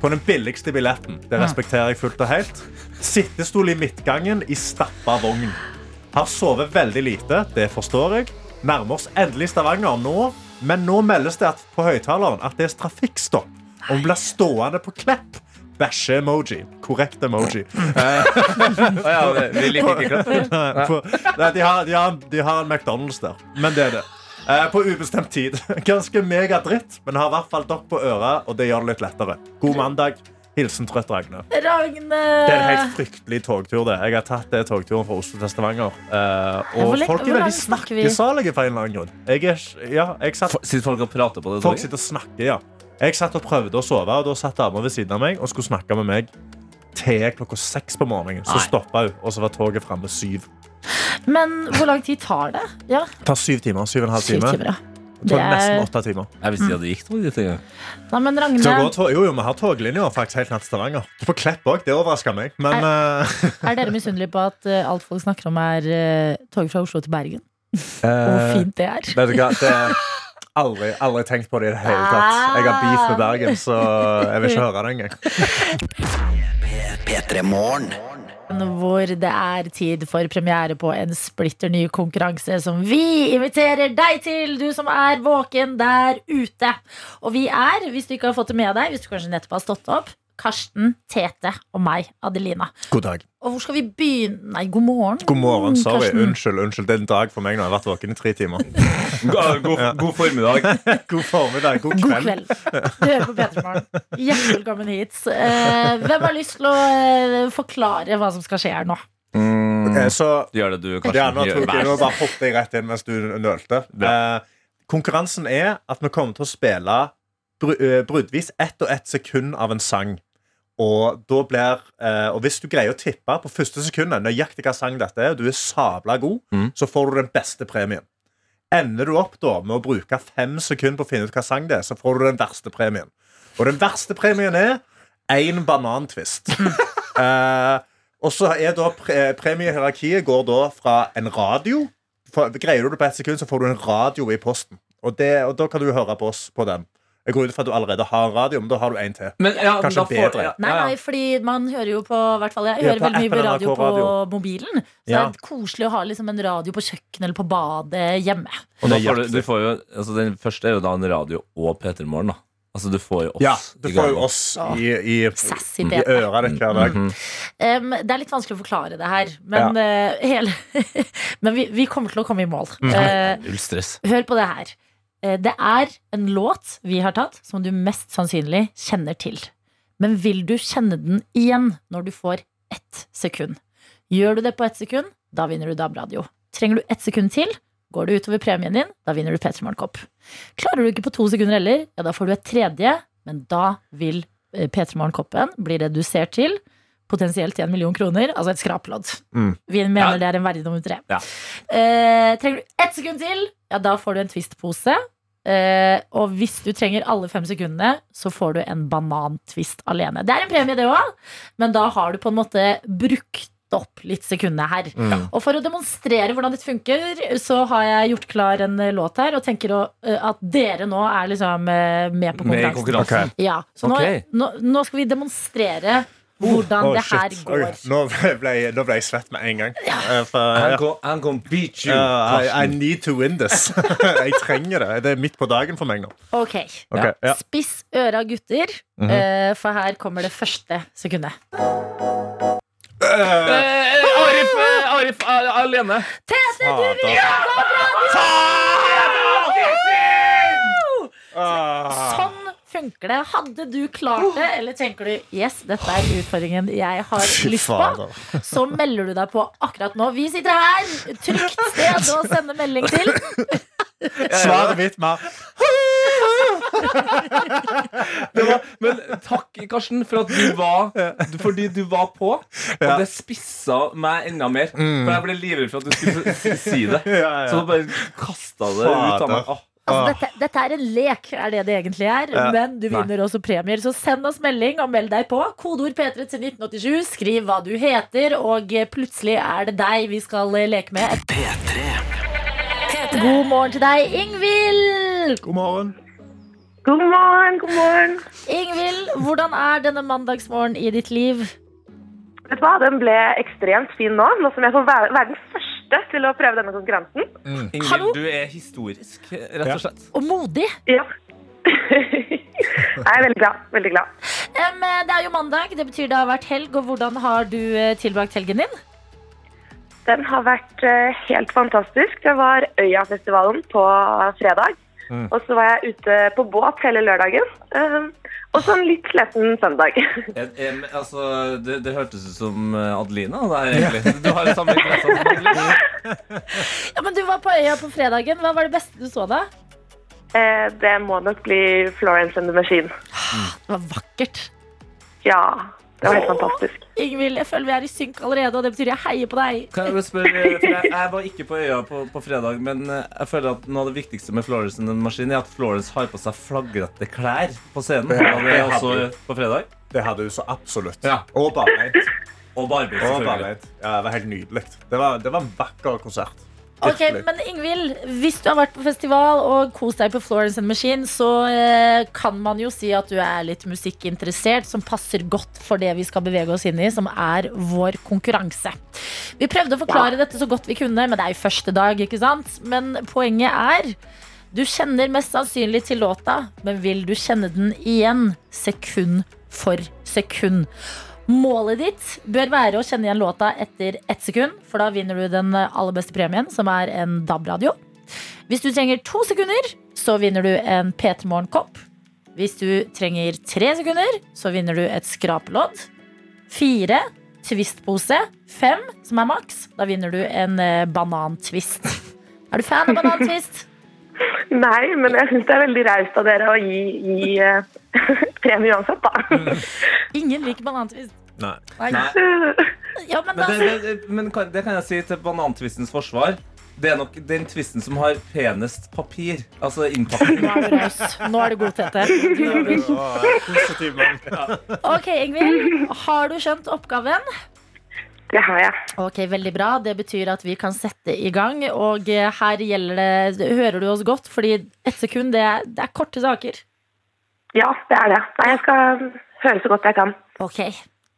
[SPEAKER 4] på den billigste billetten. Det respekterer jeg fullt og helt. Sittestol i midtgangen i stappa vogn. Har sovet veldig lite, det forstår jeg. Nærmer oss endelig Stavanger nå, men nå meldes det at på høyttaleren at det er trafikkstopp. Og vi blir stående på Klepp. Bæsje-emoji. Korrekt emoji.
[SPEAKER 3] Å ja, vi- vi liker ikke klapp.
[SPEAKER 4] Nei, på, nei, de, har, de, har, de har en McDonald's der, men det er det. Eh, på ubestemt tid. Ganske megadritt, men har i hvert fall dokk på øret, og det gjør det litt lettere. God mandag. Hilsen trøtt Ragne.
[SPEAKER 2] Ragne!
[SPEAKER 4] Det er en helt fryktelig togtur. det Jeg har tatt det togturen fra Oslo til Stavanger. Eh,
[SPEAKER 2] Hvor
[SPEAKER 4] og
[SPEAKER 2] lenge-
[SPEAKER 4] folk
[SPEAKER 2] hvor
[SPEAKER 4] er
[SPEAKER 2] lenge
[SPEAKER 4] veldig
[SPEAKER 2] snakker vi?
[SPEAKER 4] snakkesalige på en eller annen grunn. Jeg er, ja, jeg satt,
[SPEAKER 3] Sitter folk og prater på det?
[SPEAKER 4] folk
[SPEAKER 3] toget?
[SPEAKER 4] sitter og snakker, ja. Jeg satt og prøvde å sove, og da satt dama ved siden av meg og skulle snakke med meg til klokka seks på morgenen. Så stoppa hun, og så var toget framme syv.
[SPEAKER 2] Men hvor lang tid tar det? Ja,
[SPEAKER 4] tar syv timer. Syv og en halv
[SPEAKER 2] syv
[SPEAKER 4] time.
[SPEAKER 2] timer, ja.
[SPEAKER 4] Det
[SPEAKER 2] Det
[SPEAKER 4] er... Nesten
[SPEAKER 2] er...
[SPEAKER 4] åtte timer.
[SPEAKER 3] Jeg visste ikke at det gikk tog dit engang.
[SPEAKER 2] Nei, men
[SPEAKER 4] Så går
[SPEAKER 2] Ragne,
[SPEAKER 4] tog, jo, jo, vi har toglinjer faktisk helt ned til Stavanger. På Klepp òg. Det overrasker meg. Men
[SPEAKER 2] er dere misunnelige på at eh, alt folk snakker om er eh, tog fra Oslo til Bergen? Hvor
[SPEAKER 4] eh,
[SPEAKER 2] fint det er.
[SPEAKER 4] Vet du hva, det Aldri, aldri tenkt på det i det hele tatt. Jeg har beef med Bergen, så jeg vil ikke høre det engang.
[SPEAKER 5] P3 Morgen.
[SPEAKER 2] hvor det er tid for premiere på en splitter ny konkurranse som vi inviterer deg til, du som er våken der ute. Og vi er, hvis du ikke har fått det med deg, hvis du kanskje nettopp har stått opp, Karsten, Tete og meg, Adelina.
[SPEAKER 4] God dag.
[SPEAKER 2] Og hvor skal vi begynne? Nei, god morgen.
[SPEAKER 4] God morgen. Sorry.
[SPEAKER 2] Mm, Karsten.
[SPEAKER 4] Unnskyld. unnskyld Det er en dag for meg nå. Jeg har vært våken i tre timer.
[SPEAKER 3] God, god, god formiddag.
[SPEAKER 4] God formiddag. God
[SPEAKER 2] God
[SPEAKER 4] kveld.
[SPEAKER 2] kveld. Du hører på P3 Morgen. Hjertelig velkommen hit. Eh, hvem har lyst til å eh, forklare hva som skal skje her nå?
[SPEAKER 4] Eh, Så
[SPEAKER 3] Gjør det du, Karsten.
[SPEAKER 4] Ja, nå,
[SPEAKER 3] Gjør-
[SPEAKER 4] tok jeg, nå bare hoppet jeg rett inn mens du nølte. Eh, konkurransen er at vi kommer til å spille bru, eh, bruddvis ett og ett sekund av en sang. Og, da blir, eh, og hvis du greier å tippe på første sekundet nøyaktig hva sang dette er, og du er sabla god,
[SPEAKER 3] Mm.
[SPEAKER 4] så får du den beste premien. Ender du opp da med å bruke fem sekunder på å finne ut hva sang det er, så får du den verste premien. Og den verste premien er én banantvist. Eh, og så er da pre premiehierarkiet går da fra en radio for, Greier du det på ett sekund, så får du en radio i posten. Og, det, og da kan du høre på oss på den. Jeg går ut fra at du allerede har en radio, men da har du en til.
[SPEAKER 3] Men, ja, men
[SPEAKER 4] Kanskje
[SPEAKER 3] da får-
[SPEAKER 4] bedre.
[SPEAKER 3] ja,
[SPEAKER 2] Nei,
[SPEAKER 3] ja, ja.
[SPEAKER 2] nei, fordi man hører jo på hvert fall, Jeg
[SPEAKER 4] Ja,
[SPEAKER 2] hører
[SPEAKER 4] på
[SPEAKER 2] veldig mye på
[SPEAKER 4] appen
[SPEAKER 2] radio
[SPEAKER 4] NRK
[SPEAKER 2] på
[SPEAKER 4] Radio.
[SPEAKER 2] mobilen. Så
[SPEAKER 4] Ja.
[SPEAKER 2] det er koselig å ha liksom en radio på kjøkkenet eller på badet hjemme.
[SPEAKER 3] Og da
[SPEAKER 4] Det er
[SPEAKER 3] får du,
[SPEAKER 4] jakt.
[SPEAKER 3] du får jo, altså Den første er jo da en radio og P3 Morgen. da. Altså, du får jo oss.
[SPEAKER 4] Ja, du
[SPEAKER 3] i Mm,
[SPEAKER 4] får jo
[SPEAKER 3] gangen.
[SPEAKER 4] oss i, i,
[SPEAKER 2] Sassy
[SPEAKER 4] i
[SPEAKER 2] Tete.
[SPEAKER 4] øra ditt hver dag.
[SPEAKER 3] Mhm.
[SPEAKER 2] Em, det er litt vanskelig å forklare det her, men, eh, hele, men vi, vi kommer til å komme i mål.
[SPEAKER 4] Mm.
[SPEAKER 2] Eh,
[SPEAKER 3] Null stress.
[SPEAKER 2] Hør på det her. Eh, Det er en låt vi har tatt, som du mest sannsynlig kjenner til. Men vil du kjenne den igjen når du får ett sekund? Gjør du det på ett sekund, da vinner du DAB-radio. Trenger du ett sekund til, går det utover premien din, da vinner du P3 Morgenkopp. Klarer du ikke på to sekunder heller, ja, da får du et tredje, men da vil eh, P3 Morgenkoppen bli redusert til potensielt en million kroner, altså et skraplodd.
[SPEAKER 4] Mm.
[SPEAKER 2] Vi mener
[SPEAKER 3] Ja.
[SPEAKER 2] det er en verdi nummer tre.
[SPEAKER 3] Ja.
[SPEAKER 2] Eh, trenger du ett sekund til, ja, da får du en twistpose. Eh, og hvis du trenger alle fem sekundene, så får du en banantvist alene. Det er en premie, det òg, men da har du på en måte brukt opp litt sekundene her.
[SPEAKER 3] Mm.
[SPEAKER 2] Og for å demonstrere hvordan dette funker, så har jeg gjort klar en eh, låt her, og tenker å, eh, at dere nå er liksom eh, med på
[SPEAKER 3] Med i
[SPEAKER 2] konkurransen.
[SPEAKER 3] konkurransen.
[SPEAKER 2] Ja, så
[SPEAKER 3] Ok.
[SPEAKER 2] nå, nå, nå skal vi demonstrere hvordan
[SPEAKER 4] Å,
[SPEAKER 2] det her
[SPEAKER 4] Oh, shit.
[SPEAKER 2] går.
[SPEAKER 4] Ok, Nå, ble jeg, nå ble jeg svett med en gang. Eh, For,
[SPEAKER 3] I'm
[SPEAKER 4] ja.
[SPEAKER 3] gonna, I'm gonna beat you.
[SPEAKER 4] Ja, I, I
[SPEAKER 3] Karsten.
[SPEAKER 4] need to win this. jeg trenger det. Det er midt på dagen for meg nå.
[SPEAKER 2] Ok,
[SPEAKER 4] Ok, ja. Mhm.
[SPEAKER 2] Spiss øra, gutter, eh, for her kommer det første sekundet.
[SPEAKER 4] Eh,
[SPEAKER 3] Eh, Arif, eh, Arif eh, alene.
[SPEAKER 2] Tete, du
[SPEAKER 4] Fader.
[SPEAKER 2] vinner DAB-radio!
[SPEAKER 4] ah.
[SPEAKER 2] Sånn funker det. Hadde du klart det, eller tenker du yes, dette er utfordringen jeg har
[SPEAKER 4] Fy altså.
[SPEAKER 2] lyst på,
[SPEAKER 4] fader.
[SPEAKER 2] så melder du deg på akkurat nå. Vi sitter her, trygt sted å sende melding til.
[SPEAKER 4] Svaret mitt var
[SPEAKER 3] Det var, men takk, Karsten, for at du var du- Fordi du var på. Og
[SPEAKER 4] Ja. Mm.
[SPEAKER 3] det spissa meg enda mer. For jeg ble livredd for at du skulle si- si det.
[SPEAKER 4] ja, ja.
[SPEAKER 3] Så du bare kasta det ut av meg.
[SPEAKER 4] Fader.
[SPEAKER 3] Ah,
[SPEAKER 2] Altså, dette, dette er en lek, er det det egentlig er.
[SPEAKER 4] Ja.
[SPEAKER 2] Men du vinner også premier, så send oss melding og meld deg på. Kodeord P3 til 1987. Skriv hva du heter, og eh, plutselig er det deg vi skal eh, leke med.
[SPEAKER 5] P3
[SPEAKER 1] P3.
[SPEAKER 2] God morgen til deg, Ingvild!
[SPEAKER 4] God morgen.
[SPEAKER 6] God morgen, god morgen.
[SPEAKER 2] Ingvild, hvordan er denne mandagsmorgen i ditt liv?
[SPEAKER 6] Vet du hva, Den ble ekstremt fin nå, nå som jeg får være, være den første til å prøve denne konkurransen.
[SPEAKER 2] Hallo?
[SPEAKER 3] Ingrid, du er historisk, rett og slett.
[SPEAKER 2] Og modig.
[SPEAKER 6] Ja. jeg er veldig glad. Veldig glad.
[SPEAKER 2] Em, eh, det er jo mandag, det betyr det har vært helg. Og hvordan har du eh, tilbrakt helgen din?
[SPEAKER 6] Den har vært eh, helt fantastisk. Det var Øyafestivalen på fredag. Og så var jeg ute på båt hele lørdagen. eh, og så en litt sliten søndag.
[SPEAKER 3] Jeg, jeg, men, altså, det, det hørtes ut som eh, Adelina. Det her, egentlig. Du har det samme interesse som Adelina.
[SPEAKER 2] Ja, men Du var på øya på fredagen. Hva var det beste du så da?
[SPEAKER 6] Eh, det må nok bli Florence and the Machine.
[SPEAKER 2] Det var vakkert.
[SPEAKER 6] Ja. Det var helt fantastisk.
[SPEAKER 2] Ingvild, jeg føler vi er i synk allerede, og det betyr jeg heier på deg.
[SPEAKER 3] Kan jeg bare spørre, eh, for jeg, jeg var ikke på øya på, på fredag, men eh, jeg føler at noe av det viktigste med Florence and the Machine er at Florence har på seg flagrete klær på scenen. Og det er også på fredag.
[SPEAKER 4] Det hadde du så absolutt.
[SPEAKER 3] Ja.
[SPEAKER 4] Og barbeint.
[SPEAKER 3] Og Barbie,
[SPEAKER 4] Og
[SPEAKER 3] selvfølgelig.
[SPEAKER 4] barbeint. Ja, det var helt nydelig. Det var, det var en vakker konsert.
[SPEAKER 2] Ok,
[SPEAKER 4] Virkelig.
[SPEAKER 2] men Ingvild, hvis du har vært på festival og kost deg på Florence and Machine, så eh, kan man jo si at du er litt musikkinteressert, som passer godt for det vi skal bevege oss inn i, som er vår konkurranse. Vi prøvde å forklare dette så godt vi kunne, men det er jo første dag, ikke sant? Men poenget er du kjenner mest sannsynlig til låta, men vil du kjenne den igjen sekund for sekund? Målet ditt bør være å kjenne igjen låta etter ett sekund, for da vinner du den aller beste premien, som er en DAB-radio. Hvis du trenger to sekunder, så vinner du en P3 Morgen-kopp. Hvis du trenger tre sekunder, så vinner du et skrapelodd. Fire twistpose. Fem, som er maks, da vinner du en eh, banantvist. Er du fan av banantvist?
[SPEAKER 6] Nei, men jeg syns det er veldig raust av dere å gi, gi eh, premie uansett, da.
[SPEAKER 2] Ingen liker banantvist.
[SPEAKER 4] Nei.
[SPEAKER 3] Nei.
[SPEAKER 2] Ja, men da,
[SPEAKER 3] Men, det, det, det, men kan, det kan jeg si til banantvistens forsvar. Det er nok den tvisten som har penest papir. Altså innpakning.
[SPEAKER 2] Nå er du raus. Nå er du god, Tete. Ok, Ingvild. Har du skjønt oppgaven?
[SPEAKER 6] Det har jeg.
[SPEAKER 2] Ok, Veldig bra. Det betyr at vi kan sette i gang. Og eh, her gjelder det Hører du oss godt? Fordi ett sekund, det er, det er korte saker.
[SPEAKER 6] Ja, det er det. Nei, jeg skal um, høre så godt jeg kan.
[SPEAKER 2] Ok,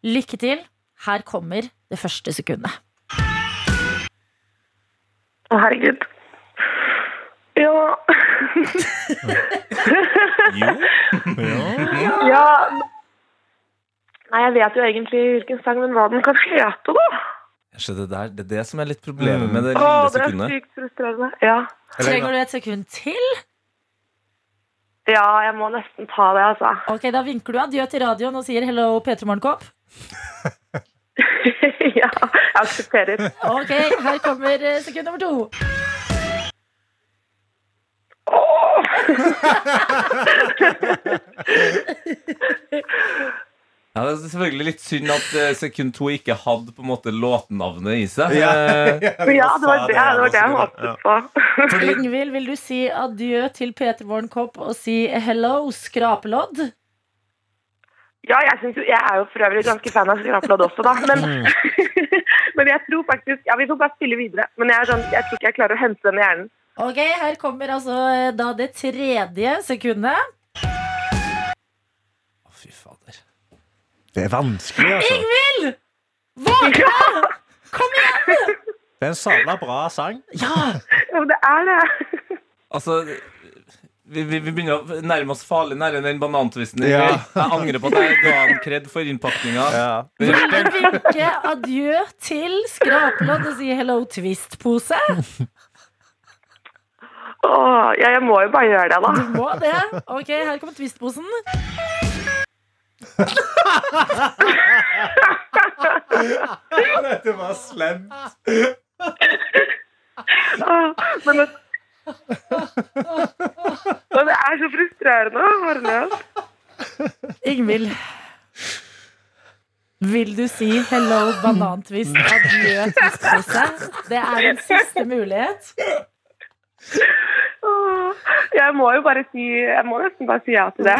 [SPEAKER 2] Lykke til. Her kommer det første sekundet.
[SPEAKER 6] Å, herregud. Ja.
[SPEAKER 4] Ja.
[SPEAKER 6] ja. Nei, jeg vet jo egentlig hvilken sang, men hva den kan hete, da?
[SPEAKER 3] Så Det, der, det er det som er litt
[SPEAKER 4] Mm.
[SPEAKER 3] problemet med det
[SPEAKER 6] Å,
[SPEAKER 3] lille
[SPEAKER 6] det er
[SPEAKER 3] sekundet.
[SPEAKER 6] sykt frustrerende. Ja.
[SPEAKER 2] Trenger du et sekund til?
[SPEAKER 6] ja, jeg må nesten ta det, altså.
[SPEAKER 2] Ok, Da vinker du adjø til radioen og sier hello, P3 Morgenkopp.
[SPEAKER 6] ja, jeg aksepterer.
[SPEAKER 2] Ok, her kommer eh, sekund nummer to.
[SPEAKER 3] Ja, det er selvfølgelig litt synd at eh, sekund to ikke hadde på en måte låtnavnet i seg.
[SPEAKER 4] Ja.
[SPEAKER 3] Eh,
[SPEAKER 6] Ja, det var det, det, var det jeg håpet på.
[SPEAKER 2] Ingvild, vil du si adjø til Peter Warnkopp og si hello, skrapelodd?
[SPEAKER 6] Ja, jeg, synes jo, jeg er jo for øvrig ganske fan av skrapelodd også, da. Men, men jeg tror faktisk Ja, vi får bare spille videre. Men jeg, er sånn, jeg tror ikke jeg klarer å hente den i hjernen.
[SPEAKER 2] Ok, her kommer altså eh, da det tredje sekundet.
[SPEAKER 3] å, fy fader.
[SPEAKER 4] Det er vanskelig, altså.
[SPEAKER 2] Ingvild! Våkne! Kom igjen!
[SPEAKER 4] Det er en sabla bra sang.
[SPEAKER 2] Ja!
[SPEAKER 6] Ja, men det er det.
[SPEAKER 3] Altså vi, vi, vi begynner å nærme oss farlig nære den banantvisten.
[SPEAKER 4] Ja.
[SPEAKER 3] Jeg angrer på at jeg ga han kred for innpakninga.
[SPEAKER 4] Ja.
[SPEAKER 2] Vil du vinke adjø til skrapelodd og si hello, twist-pose?
[SPEAKER 6] Åh, ja, jeg må jo bare gjøre det, da.
[SPEAKER 2] Må det. Ok, her kommer twist-posen.
[SPEAKER 4] Dette var slemt.
[SPEAKER 6] Åh, Men det, Åh, det er så frustrerende. Harmløs.
[SPEAKER 2] Ingvild. Vil du si hello, banantvist, adjø, twist-pose? Det er en siste mulighet.
[SPEAKER 6] Åh, Jeg må jo bare si Jeg må nesten bare si ja til det.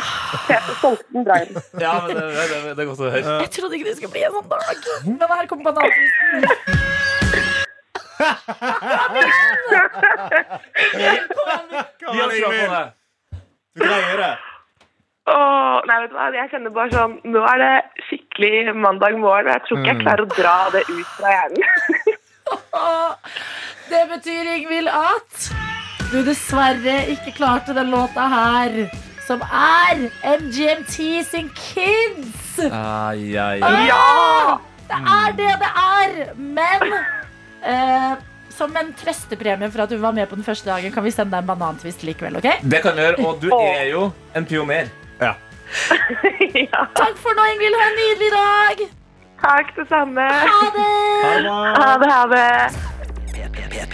[SPEAKER 6] Se på Stolten Drive.
[SPEAKER 3] Ja, men det, det, det, det er godt å høre.
[SPEAKER 2] Jeg trodde ikke det skulle bli en sånn dag. Men her kommer banantvisten.
[SPEAKER 3] Gi han fra på det.
[SPEAKER 4] Du greier det.
[SPEAKER 6] Åh, nei, vet du hva? Jeg kjenner bare sånn Nå er det skikkelig mandag morgen, og jeg tror
[SPEAKER 2] Mm.
[SPEAKER 6] ikke jeg klarer å dra det ut fra hjernen.
[SPEAKER 2] Og det betyr, Ingvild, at du dessverre ikke klarte den låta her. Som er MGMT sin Kids.
[SPEAKER 3] Ai, ai, ai.
[SPEAKER 2] Ja! Det er det det er. Men eh, som en trøstepremie for at du var med på den første dagen, kan vi sende deg en banantvist likevel. ok?
[SPEAKER 3] Det kan vi gjøre, og du er jo en pioner.
[SPEAKER 6] ja.
[SPEAKER 2] Takk for nå, Ingvild. Ha en nydelig dag.
[SPEAKER 6] Takk, det samme.
[SPEAKER 2] Ha det.
[SPEAKER 6] Ha det, ha det.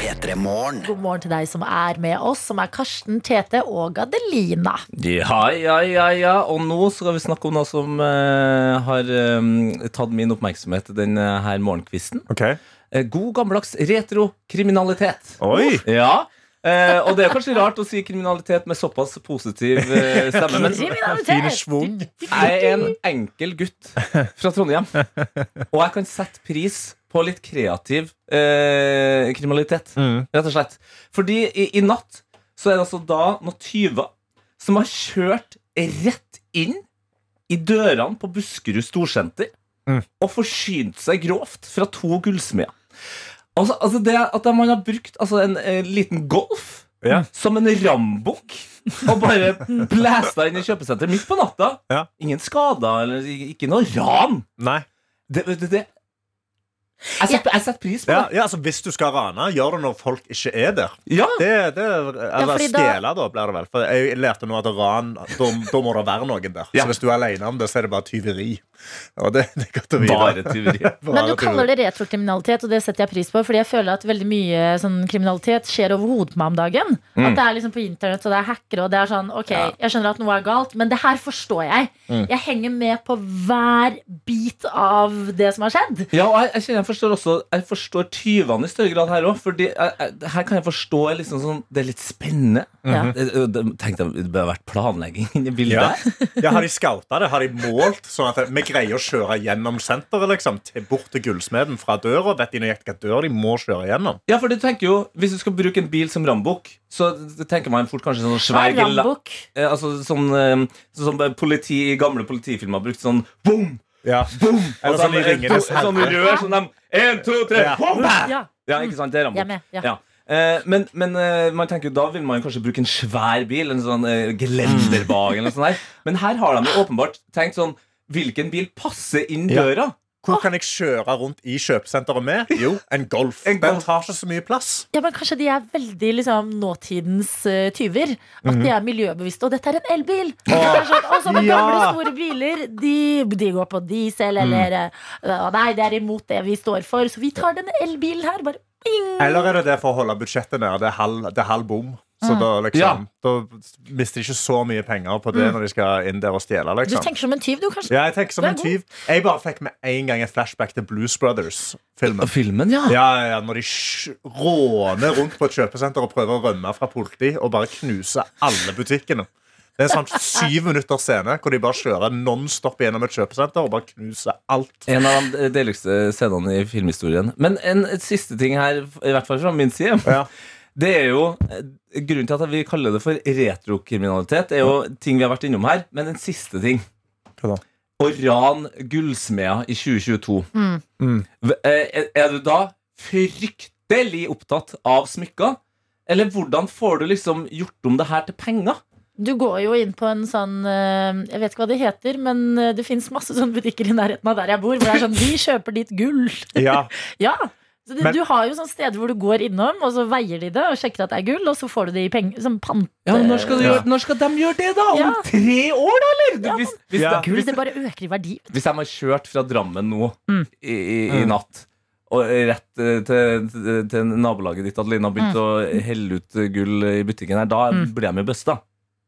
[SPEAKER 5] P3morgen.
[SPEAKER 2] God morgen til deg som er med oss, som er Karsten, Tete og Adelina.
[SPEAKER 3] Ja, ja, ja, ja. Og nå skal vi snakke om noe som eh, har eh, tatt min oppmerksomhet denne her morgenkvisten.
[SPEAKER 4] OK.
[SPEAKER 3] Eh, god gammeldags retrokriminalitet.
[SPEAKER 4] Oi!
[SPEAKER 3] Ja. Eh, og det er kanskje rart å si kriminalitet med såpass positiv eh, stemme, men
[SPEAKER 4] Fin
[SPEAKER 2] Kriminalitet!
[SPEAKER 4] schwung.
[SPEAKER 3] jeg er en enkel gutt fra Trondheim, og jeg kan sette pris på på litt kreativ eh, kriminalitet.
[SPEAKER 4] Mm.
[SPEAKER 3] Rett og slett. Fordi i, i natt så er det altså da noen tyver som har kjørt rett inn i dørene på Buskerud Storsenter
[SPEAKER 4] Mm.
[SPEAKER 3] og forsynt seg grovt fra to gullsmeder. Altså, altså det at man har brukt altså en, eh, liten golf
[SPEAKER 4] Ja.
[SPEAKER 3] som en rambukk og bare blæsta inn i kjøpesenteret midt på natta.
[SPEAKER 4] Ja.
[SPEAKER 3] Ingen skader eller i- ikke noe ran.
[SPEAKER 4] Nei.
[SPEAKER 3] Det, det, det. Jeg setter jeg setter pris på
[SPEAKER 4] Ja,
[SPEAKER 3] det.
[SPEAKER 4] ja, altså Hvis du skal rane, gjør det når folk ikke er der.
[SPEAKER 3] Ja,
[SPEAKER 4] Det, det, eller
[SPEAKER 2] fordi da-
[SPEAKER 4] stjele, da, blir det vel. For jeg lærte nå at ran, da, da må det være noen der.
[SPEAKER 3] Ja.
[SPEAKER 4] Så hvis du er alene om det, så er det bare tyveri. Og det, det er godt å vite.
[SPEAKER 3] Bare tyveri.
[SPEAKER 2] Men du kaller det returkriminalitet, og det setter jeg pris på. Fordi jeg føler at veldig mye sånn kriminalitet skjer over hodet på meg om dagen. At det er liksom på internett, og det er hackere, og det er sånn Ok, jeg skjønner at noe er galt, men det her forstår jeg. Jeg henger med på hver bit av det som har skjedd.
[SPEAKER 3] Ja, og jeg, jeg, kjenner, jeg forstår også Jeg forstår tyvene i større grad her òg. Fordi jeg, jeg, her kan jeg forstå liksom sånn, Det er litt spennende.
[SPEAKER 2] Ja.
[SPEAKER 3] Det, det- tenk deg, det bør ha vært planlegging inni bildet.
[SPEAKER 4] Ja.
[SPEAKER 3] Ja.
[SPEAKER 4] ja, Har de scouta det? Har de målt sånn at vi greier å kjøre gjennom senteret? liksom til, Bort til gullsmeden fra døra? Vet de nøyaktig hvilken dør de må kjøre gjennom?
[SPEAKER 3] for du tenker jo Hvis du skal bruke en bil som rambukk, så tenker man fort kanskje sånn
[SPEAKER 2] Hva
[SPEAKER 3] svær
[SPEAKER 2] er
[SPEAKER 3] gela-
[SPEAKER 2] rambukk?
[SPEAKER 3] Eh, Altså sånn, eh, sånn som politi i gamle politifilmer har brukt sånn boom,
[SPEAKER 4] Ja.
[SPEAKER 3] boom
[SPEAKER 4] Eller
[SPEAKER 3] Og
[SPEAKER 4] sånn i
[SPEAKER 3] en-
[SPEAKER 4] Ringenes
[SPEAKER 3] to- Sånn i rør, sånn dem En, to, tre,
[SPEAKER 4] Ja.
[SPEAKER 3] boom, bæ!
[SPEAKER 2] Ja.
[SPEAKER 3] Ja, ikke sant, det er
[SPEAKER 2] Jeg er
[SPEAKER 3] Rambo
[SPEAKER 2] med. Ja.
[SPEAKER 3] ja. Eh, Men, men eh, man tenker jo, da vil man kanskje bruke en svær bil En sånn eh, gelendervag eller noe sånt der Men her har de jo åpenbart tenkt sånn Hvilken bil passer inn
[SPEAKER 4] Ja.
[SPEAKER 3] døra?
[SPEAKER 4] Hvor kan jeg kjøre rundt i kjøpesenteret med? Jo, en Golf.
[SPEAKER 3] En
[SPEAKER 4] Den
[SPEAKER 3] Golf.
[SPEAKER 4] tar ikke så mye plass.
[SPEAKER 2] Ja, men Kanskje de er veldig liksom, nåtidens eh, tyver. At de er miljøbevisste. Og dette er en elbil! Og det er sånn, «Å, sånne gamle,
[SPEAKER 4] Mhm. Ja. Mhm.
[SPEAKER 2] store biler de, de går på diesel, eller eh, «Å, Nei, det er imot det vi står for, så vi tar denne elbilen her. Bare bing!
[SPEAKER 4] Eller er det det for å holde budsjettet nede? Det er halv, det er halv bom. Så da, liksom, da mister de ikke så mye penger på det når de skal inn der og stjele.
[SPEAKER 2] Du
[SPEAKER 4] Liksom.
[SPEAKER 2] tenker som en tyv, du, kanskje?
[SPEAKER 4] Ja, jeg tenker som
[SPEAKER 2] Du er
[SPEAKER 4] en tyv. Jeg bare fikk med en gang et flashback til Blues Brothers-filmen.
[SPEAKER 3] Filmen, ja
[SPEAKER 4] Ja, ja, ja, Når de sj- råner rundt på et kjøpesenter og prøver å rømme fra politi og bare knuser alle butikkene. Det er en sånn syv minutter scene hvor de bare kjører nonstop gjennom et kjøpesenter og bare knuser alt.
[SPEAKER 3] En av de deligste scenene i filmhistorien Men en et siste ting her, i hvert fall fra min side
[SPEAKER 4] Ja.
[SPEAKER 3] Det er jo eh, Grunnen til at vi kaller det for retrokriminalitet, er jo ting vi har vært innom her. Men en siste ting.
[SPEAKER 4] Hva da?
[SPEAKER 3] Å rane gullsmeder i 2022.
[SPEAKER 2] Mm.
[SPEAKER 3] V- eh, Er er du da fryktelig opptatt av smykker? Eller hvordan får du liksom gjort om det her til penger?
[SPEAKER 2] Du går jo inn på en sånn eh, Jeg vet ikke hva det heter, men eh, det fins masse sånne butikker i nærheten av der jeg bor, hvor det er sånn Vi kjøper ditt gull!
[SPEAKER 4] Ja,
[SPEAKER 2] Ja. Så det,
[SPEAKER 4] Men-
[SPEAKER 2] du har jo sånne steder hvor du går innom, og så veier de det og sjekker at det er gull, og så får du det i penger som pant.
[SPEAKER 3] Ja, men når skal, du
[SPEAKER 4] Ja.
[SPEAKER 3] gjøre, når skal de gjøre det, da? Eh, Om
[SPEAKER 2] Ja.
[SPEAKER 3] tre år, da, eller?
[SPEAKER 2] Ja,
[SPEAKER 3] hvis, hvis,
[SPEAKER 4] Ja.
[SPEAKER 3] det-
[SPEAKER 2] Gull,
[SPEAKER 3] hvis,
[SPEAKER 2] det bare øker i verdi.
[SPEAKER 3] hvis de har kjørt fra Drammen nå
[SPEAKER 2] Mm.
[SPEAKER 3] i, i, i natt og rett eh, til, til, til nabolaget ditt, Adelina, har begynt å helle ut eh, gull i butikken her, da
[SPEAKER 2] Mm.
[SPEAKER 3] blir de jo busta.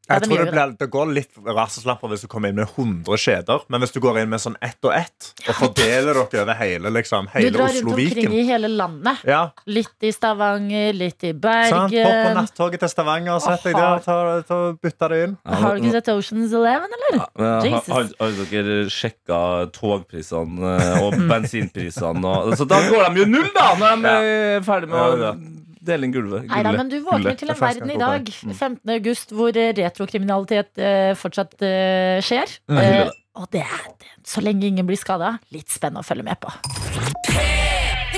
[SPEAKER 2] Ja,
[SPEAKER 4] Jeg
[SPEAKER 2] de
[SPEAKER 4] tror
[SPEAKER 2] gjør
[SPEAKER 4] det,
[SPEAKER 2] jo
[SPEAKER 4] blir, det går litt raseslapper hvis du kommer inn med 100 kjeder. Men hvis du går inn med sånn ett og ett, og fordeler dere over hele, liksom,
[SPEAKER 2] Du
[SPEAKER 4] hele
[SPEAKER 2] drar rundt omkring
[SPEAKER 4] Oslo-Viken
[SPEAKER 2] i hele landet.
[SPEAKER 4] ja,
[SPEAKER 2] Litt i Stavanger, litt i
[SPEAKER 4] sant? Hopp på
[SPEAKER 2] Bergen.
[SPEAKER 4] nattoget til Stavanger og sett deg
[SPEAKER 2] Aha.
[SPEAKER 4] der og ta- ta- bytte det inn.
[SPEAKER 2] Har du ikke sett Oceans Eleven, eller?
[SPEAKER 3] Men Har,
[SPEAKER 2] Jesus.
[SPEAKER 3] har, har dere sjekka togprisene eh, og bensinprisene? Og, så da går de jo null, da, når de eh, er ferdig med
[SPEAKER 4] Ja,
[SPEAKER 3] å
[SPEAKER 4] ja.
[SPEAKER 3] dele inn gulvet.
[SPEAKER 2] Nei da,
[SPEAKER 3] gullet.
[SPEAKER 2] men du våkner til en
[SPEAKER 4] Det er faktisk
[SPEAKER 2] verden i
[SPEAKER 4] en god
[SPEAKER 2] dag, 15. august, hvor eh, retrokriminalitet eh, fortsatt eh, skjer.
[SPEAKER 3] hyggelig
[SPEAKER 2] Eh, og det er det. Så lenge ingen blir skada, litt spennende å følge med på.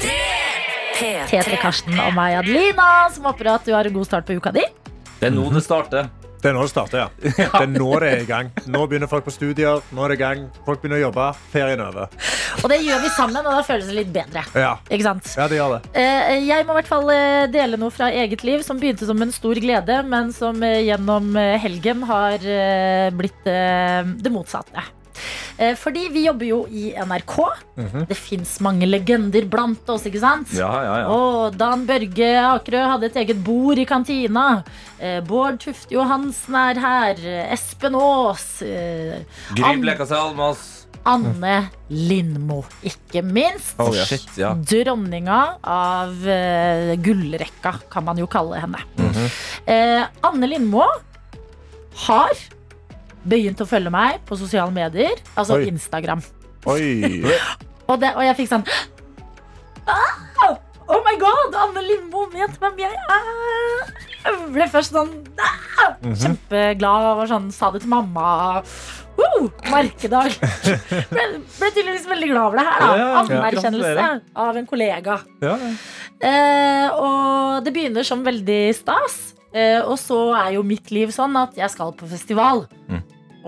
[SPEAKER 1] P3.
[SPEAKER 2] Petre Karsten og meg, Adelina, som håper at du har en god start på uka di.
[SPEAKER 3] Det er nå det starter.
[SPEAKER 4] Det er nå det starter, ja. Det er nå det er i gang. Nå begynner folk på studier, nå er det i gang. Folk begynner å jobbe. Ferien er over.
[SPEAKER 2] Og det gjør vi sammen, og da føles det litt bedre.
[SPEAKER 4] Ja.
[SPEAKER 2] Ikke sant?
[SPEAKER 4] ja, det gjør det.
[SPEAKER 2] Eh, Jeg må i hvert fall eh, dele noe fra eget liv som begynte som en stor glede, men som eh, gjennom eh, helgen har eh, blitt eh, det motsatte. Eh, Fordi vi jobber jo i NRK. Det fins mange legender blant oss, ikke sant?
[SPEAKER 3] Mhm. Ja, ja, ja.
[SPEAKER 2] Og Dan Børge Akerø hadde et eget bord i kantina. Eh, Bård Tufte Johansen er her. Eh, Espen Aas. eh,
[SPEAKER 3] Grib leka seg Almas.
[SPEAKER 2] Anne Lindmo, ikke minst.
[SPEAKER 4] Oh, yes.
[SPEAKER 3] Shit, ja.
[SPEAKER 2] Dronninga av eh, gullrekka, kan man jo kalle henne.
[SPEAKER 3] Mhm.
[SPEAKER 2] eh, Anne Lindmo har begynt å følge meg på sosiale medier, altså
[SPEAKER 4] Oi.
[SPEAKER 2] Instagram.
[SPEAKER 4] Oi.
[SPEAKER 2] Og, det, og jeg fikk sånn Ah! Oh my god, Anne Lindmo vet hvem jeg er! Jeg ble først sånn ah!
[SPEAKER 3] Mhm.
[SPEAKER 2] kjempeglad og var sånn, sa det til mamma. Woo! Merkedag. Ble, ble tydeligvis veldig glad over det her.
[SPEAKER 3] Ja,
[SPEAKER 2] da
[SPEAKER 3] ja, ja.
[SPEAKER 2] Anerkjennelse
[SPEAKER 3] Gratulerer.
[SPEAKER 2] av en kollega.
[SPEAKER 3] Ja, ja.
[SPEAKER 2] Eh, og det begynner som veldig stas. Eh, og så er jo mitt liv sånn at jeg skal på festival.
[SPEAKER 3] Mm.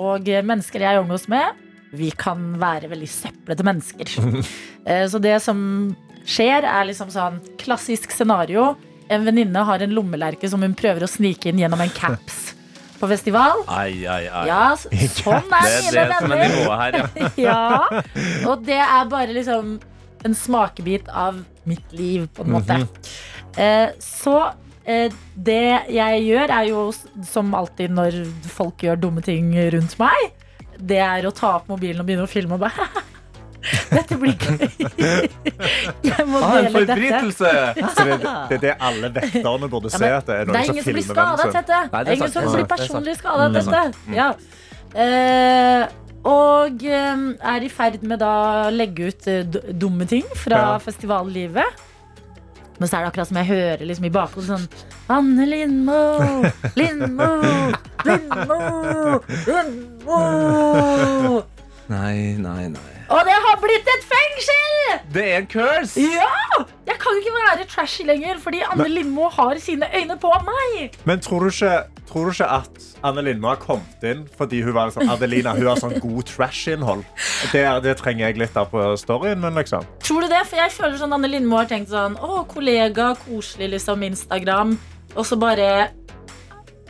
[SPEAKER 2] Og eh, mennesker jeg omgås med, vi kan være veldig søplete mennesker. eh, så det som skjer, er liksom sånn klassisk scenario. En venninne har en lommelerke som hun prøver å snike inn gjennom en caps på festival.
[SPEAKER 3] Ai, ai, ai.
[SPEAKER 2] Ja, s- sånn
[SPEAKER 3] Det
[SPEAKER 2] er
[SPEAKER 3] er
[SPEAKER 2] mine
[SPEAKER 3] det som er
[SPEAKER 2] venner.
[SPEAKER 3] nivået her, ja.
[SPEAKER 2] ja. Og det er bare liksom en smakebit av mitt liv, på en måte. Eh, så eh, det jeg gjør, er jo s- som alltid når folk gjør dumme ting rundt meg, det er å ta opp mobilen og begynne å filme og bare Dette blir gøy. jeg må
[SPEAKER 3] Ah, en
[SPEAKER 2] dele dette.
[SPEAKER 3] forbrytelse!
[SPEAKER 4] Så det, det er det alle vekterne burde se
[SPEAKER 2] men
[SPEAKER 4] etter.
[SPEAKER 2] Det
[SPEAKER 4] er noen
[SPEAKER 2] er
[SPEAKER 3] sånn
[SPEAKER 4] som
[SPEAKER 2] ingen som blir
[SPEAKER 4] filmer vennen
[SPEAKER 2] skadet,
[SPEAKER 4] sin.
[SPEAKER 2] Tette.
[SPEAKER 3] Nei,
[SPEAKER 2] Det
[SPEAKER 3] det
[SPEAKER 2] er
[SPEAKER 3] er
[SPEAKER 2] ingen som
[SPEAKER 3] sant, det
[SPEAKER 2] blir
[SPEAKER 3] er sant, det er
[SPEAKER 2] personlig skadet,
[SPEAKER 3] Mm, det er
[SPEAKER 2] Tette. Ja. Eh, og eh, er i ferd med da å legge ut eh, d- dumme ting fra
[SPEAKER 4] Ja.
[SPEAKER 2] festivallivet. Men så er det akkurat som jeg hører liksom i bakhodet sånn Anne Lindmo, Lindmo, Lindmo, Lindmo.
[SPEAKER 3] Nei, nei, nei.
[SPEAKER 2] Og det har blitt et fengsel!
[SPEAKER 3] Det er en curse!
[SPEAKER 2] Ja! Jeg kan jo ikke være trashy lenger, fordi Anne Lindmo har sine øyne på meg.
[SPEAKER 4] Men tror du ikke, tror du ikke at Anne Lindmo har kommet inn fordi hun var sånn, Adelina hun har sånn god trash-innhold? Det, er- det trenger jeg litt av på storyen min, liksom.
[SPEAKER 2] Tror du det? For jeg føler sånn Anne Lindmo har tenkt sånn Å, kollega, koselig, liksom, Instagram. Og så bare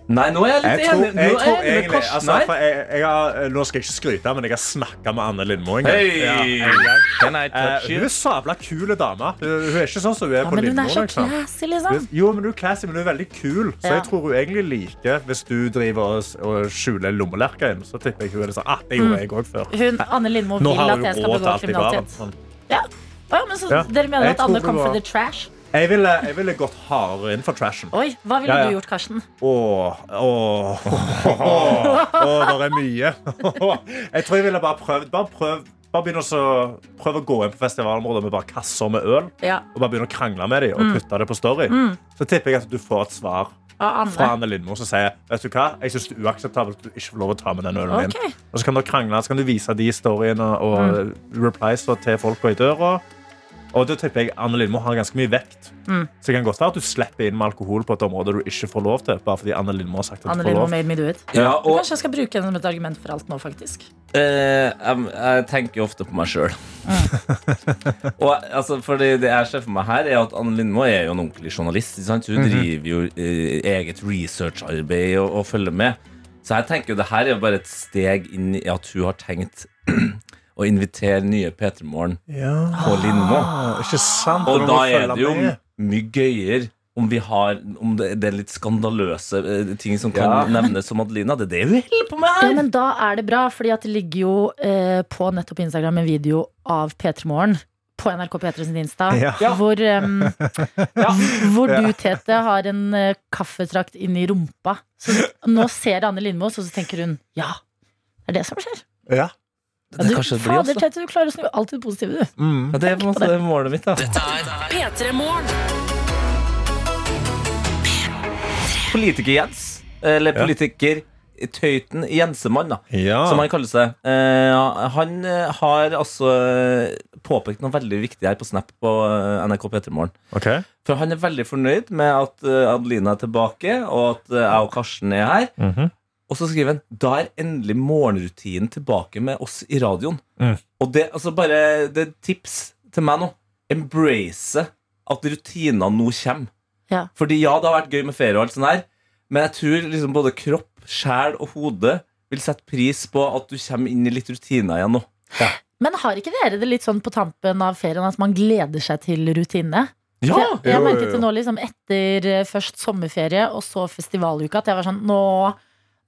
[SPEAKER 3] Nei, nå er jeg litt
[SPEAKER 4] Jeg tror,
[SPEAKER 3] enig. Nå
[SPEAKER 4] jeg
[SPEAKER 3] er
[SPEAKER 4] tror
[SPEAKER 3] jeg enig med
[SPEAKER 4] egentlig
[SPEAKER 3] Karsten
[SPEAKER 4] altså, for
[SPEAKER 3] her.
[SPEAKER 4] jeg, jeg har, Nå skal jeg ikke skryte, men jeg har snakka med Anne Lindmo en gang.
[SPEAKER 3] Hei!
[SPEAKER 4] Ja, en gang.
[SPEAKER 3] Can I
[SPEAKER 4] Eh,
[SPEAKER 3] touch
[SPEAKER 4] hun
[SPEAKER 3] you?
[SPEAKER 4] er sabla kul dame. Hun hun er ikke sånn som hun er
[SPEAKER 2] Ja,
[SPEAKER 4] på
[SPEAKER 2] men hun
[SPEAKER 4] Lindmo.
[SPEAKER 2] er så
[SPEAKER 4] liksom.
[SPEAKER 2] classy, liksom.
[SPEAKER 4] Jo, men hun er classy, men hun er veldig kul. Så
[SPEAKER 2] Ja.
[SPEAKER 4] jeg tror hun egentlig liker hvis du driver og, og skjuler lommelerka inn. Så tipper jeg hun er litt sånn, ah, det gjorde jeg også før.
[SPEAKER 2] Mm. Hun, Anne Lindmo
[SPEAKER 4] Nå
[SPEAKER 2] vil
[SPEAKER 4] har
[SPEAKER 2] at
[SPEAKER 4] hun
[SPEAKER 2] jeg skal
[SPEAKER 4] råd til
[SPEAKER 2] begå
[SPEAKER 4] alt i
[SPEAKER 2] kriminalitet.
[SPEAKER 4] verden.
[SPEAKER 2] Ja. Å, ja, men så
[SPEAKER 4] Ja.
[SPEAKER 2] Dere mener
[SPEAKER 4] Jeg
[SPEAKER 2] at Anne
[SPEAKER 4] tror
[SPEAKER 2] kom
[SPEAKER 4] det
[SPEAKER 2] for
[SPEAKER 4] var-
[SPEAKER 2] the trash?
[SPEAKER 4] Jeg ville, jeg ville gått hardere inn for trashen. Åh,
[SPEAKER 2] Oi, Hva ville
[SPEAKER 4] Ja, ja.
[SPEAKER 2] du gjort, Karsten?
[SPEAKER 4] åh, åh, åh, det er mye. Jeg tror jeg ville bare prøvd. Bare prøv, bare begynne å så- prøv å gå inn på festivalområdet med bare kasser med øl.
[SPEAKER 2] Ja, Mm.
[SPEAKER 4] Og bare begynne å krangle med dem og putte det på story. Så tipper jeg at du får et svar
[SPEAKER 2] av
[SPEAKER 4] fra
[SPEAKER 2] Anne.
[SPEAKER 4] Anne Lindmo som sier vet du hva, jeg synes det er uakseptabelt at du ikke får lov å ta med den ølen din.
[SPEAKER 2] Ok.
[SPEAKER 4] Og så kan dere krangle, så kan du vise de storyene og
[SPEAKER 2] Mm.
[SPEAKER 4] replies og til folk i døra. Og da tipper jeg Anne Lindmo har ganske mye vekt.
[SPEAKER 2] Mm.
[SPEAKER 4] Så det kan godt være at du slipper inn med alkohol på et område du ikke får lov til. Bare fordi Anne Lindmo har sagt at
[SPEAKER 2] Anne
[SPEAKER 4] du får
[SPEAKER 2] Lindmo
[SPEAKER 4] lov.
[SPEAKER 2] made me do it.
[SPEAKER 3] Ja, og
[SPEAKER 2] Kanskje jeg skal bruke henne som et argument for alt nå, faktisk.
[SPEAKER 3] Eh, jeg, jeg tenker jo ofte på meg sjøl. Og altså, fordi det jeg ser for meg her, er at Anne Lindmo er jo en ordentlig journalist. ikke Sant? Hun
[SPEAKER 4] Mhm.
[SPEAKER 3] driver jo eh, eget researcharbeid og, og følger med. Så jeg tenker jo det her er jo bare et steg inn i at hun har tenkt å invitere nye P3 Morgen
[SPEAKER 4] Ja, Ah,
[SPEAKER 3] på Lindmo.
[SPEAKER 4] ikke sant?
[SPEAKER 3] Og
[SPEAKER 4] Du
[SPEAKER 3] da
[SPEAKER 4] må
[SPEAKER 3] er
[SPEAKER 4] følge
[SPEAKER 3] det jo
[SPEAKER 4] med.
[SPEAKER 3] mye gøyere om, vi har, om det, det er litt skandaløse eh, ting som kan
[SPEAKER 4] Ja.
[SPEAKER 3] nevnes som Adelina. Det er det hun holder på med
[SPEAKER 2] Ja,
[SPEAKER 3] her!
[SPEAKER 2] men da er det bra, fordi at det ligger jo eh, på nettopp Instagram en video av P3 Morgen på NRK P3 sin Insta,
[SPEAKER 4] Ja.
[SPEAKER 2] hvor, em, hvor du, Tete, har en eh, kaffetrakt inni rumpa. Så nå ser Anne Lindmo, og så tenker hun ja. Det er det som skjer.
[SPEAKER 4] Ja.
[SPEAKER 3] Det er
[SPEAKER 2] du,
[SPEAKER 3] kanskje det blir
[SPEAKER 2] fader,
[SPEAKER 3] oss, da.
[SPEAKER 2] Tete, du klarer å snu alt til det positive, du.
[SPEAKER 4] Mm.
[SPEAKER 3] Ja, det er på en måte målet mitt, da.
[SPEAKER 1] P3 Morgen.
[SPEAKER 3] Politiker-Jens, eller politiker-tøyten Jensemann, da,
[SPEAKER 4] Ja.
[SPEAKER 3] som han kaller seg, eh, han eh, har altså eh, påpekt noe veldig viktig her på Snap på eh, NRK P3 Morgen.
[SPEAKER 4] Ok.
[SPEAKER 3] For han er veldig fornøyd med at eh, Adelina er tilbake, og at eh, jeg og Karsten er her.
[SPEAKER 4] Mhm.
[SPEAKER 3] Og så skriver han Da er endelig morgenrutinen tilbake med oss i radioen.
[SPEAKER 4] Mm.
[SPEAKER 3] Og det, altså bare, det er et tips til meg nå. Embrace at rutinene nå kommer.
[SPEAKER 2] Ja.
[SPEAKER 3] Fordi ja, det har vært gøy med ferie, og alt sånt her men jeg tror liksom både kropp, sjel og hode vil sette pris på at du kommer inn i litt rutiner igjen nå.
[SPEAKER 2] Men har ikke dere det litt sånn på tampen av ferien at man gleder seg til rutinene?
[SPEAKER 3] Ja!
[SPEAKER 2] For Jeg, jeg
[SPEAKER 4] Jo, jo,
[SPEAKER 2] merket det
[SPEAKER 4] jo.
[SPEAKER 2] nå liksom etter eh, først sommerferie og så festivaluka at jeg var sånn Nå,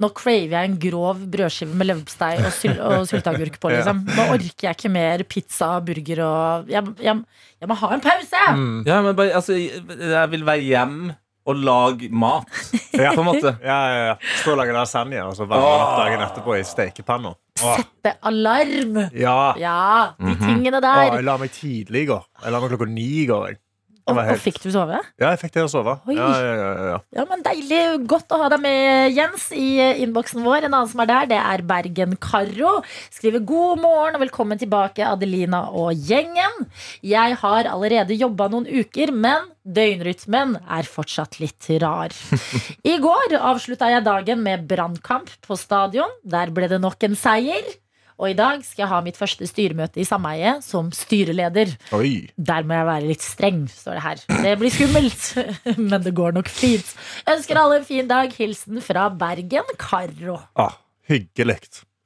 [SPEAKER 2] nå craver jeg en grov brødskive med leverpostei og, syl og sylteagurk på, liksom. Nå orker jeg ikke mer pizza og burger og jeg, jeg, jeg må ha en pause!
[SPEAKER 4] Mm.
[SPEAKER 3] Mm. Ja, men bare, altså, jeg- jeg vil være hjem å lage mat.
[SPEAKER 4] Ja.
[SPEAKER 3] På en måte.
[SPEAKER 4] Ja, ja, ja. Stå og lage lasagne, og så varme
[SPEAKER 3] Ah.
[SPEAKER 4] den opp dagen etterpå i stekepanna. Åh.
[SPEAKER 2] Sette alarm.
[SPEAKER 4] Ja.
[SPEAKER 2] Ja, de tingene
[SPEAKER 4] Åh, Mhm. jeg
[SPEAKER 2] der.
[SPEAKER 4] la meg tidlig i går. Jeg la meg klokka ni i går. jeg. Det
[SPEAKER 2] Og,
[SPEAKER 4] var
[SPEAKER 2] og
[SPEAKER 4] helt-
[SPEAKER 2] fikk du sove?
[SPEAKER 4] Ja, jeg fikk det å sove.
[SPEAKER 2] Oi.
[SPEAKER 4] Ja, ja, ja, ja, ja.
[SPEAKER 2] Ja, men Deilig. Godt å ha deg med, Jens, i eh, innboksen vår. En annen som er der, det er Bergen-Karo. Skriver god morgen og velkommen tilbake, Adelina og gjengen. Jeg har allerede jobba noen uker, men døgnrytmen er fortsatt litt rar. I går avslutta jeg dagen med brannkamp på stadion. Der ble det nok en seier. Og i dag skal jeg ha mitt første styremøte i sameiet som styreleder.
[SPEAKER 4] Oi.
[SPEAKER 2] Der må jeg være litt streng, står det her. Det blir skummelt, men det går nok fint. Ønsker alle en fin dag. Hilsen fra Bergen, Karo.
[SPEAKER 4] Ah, hyggelig.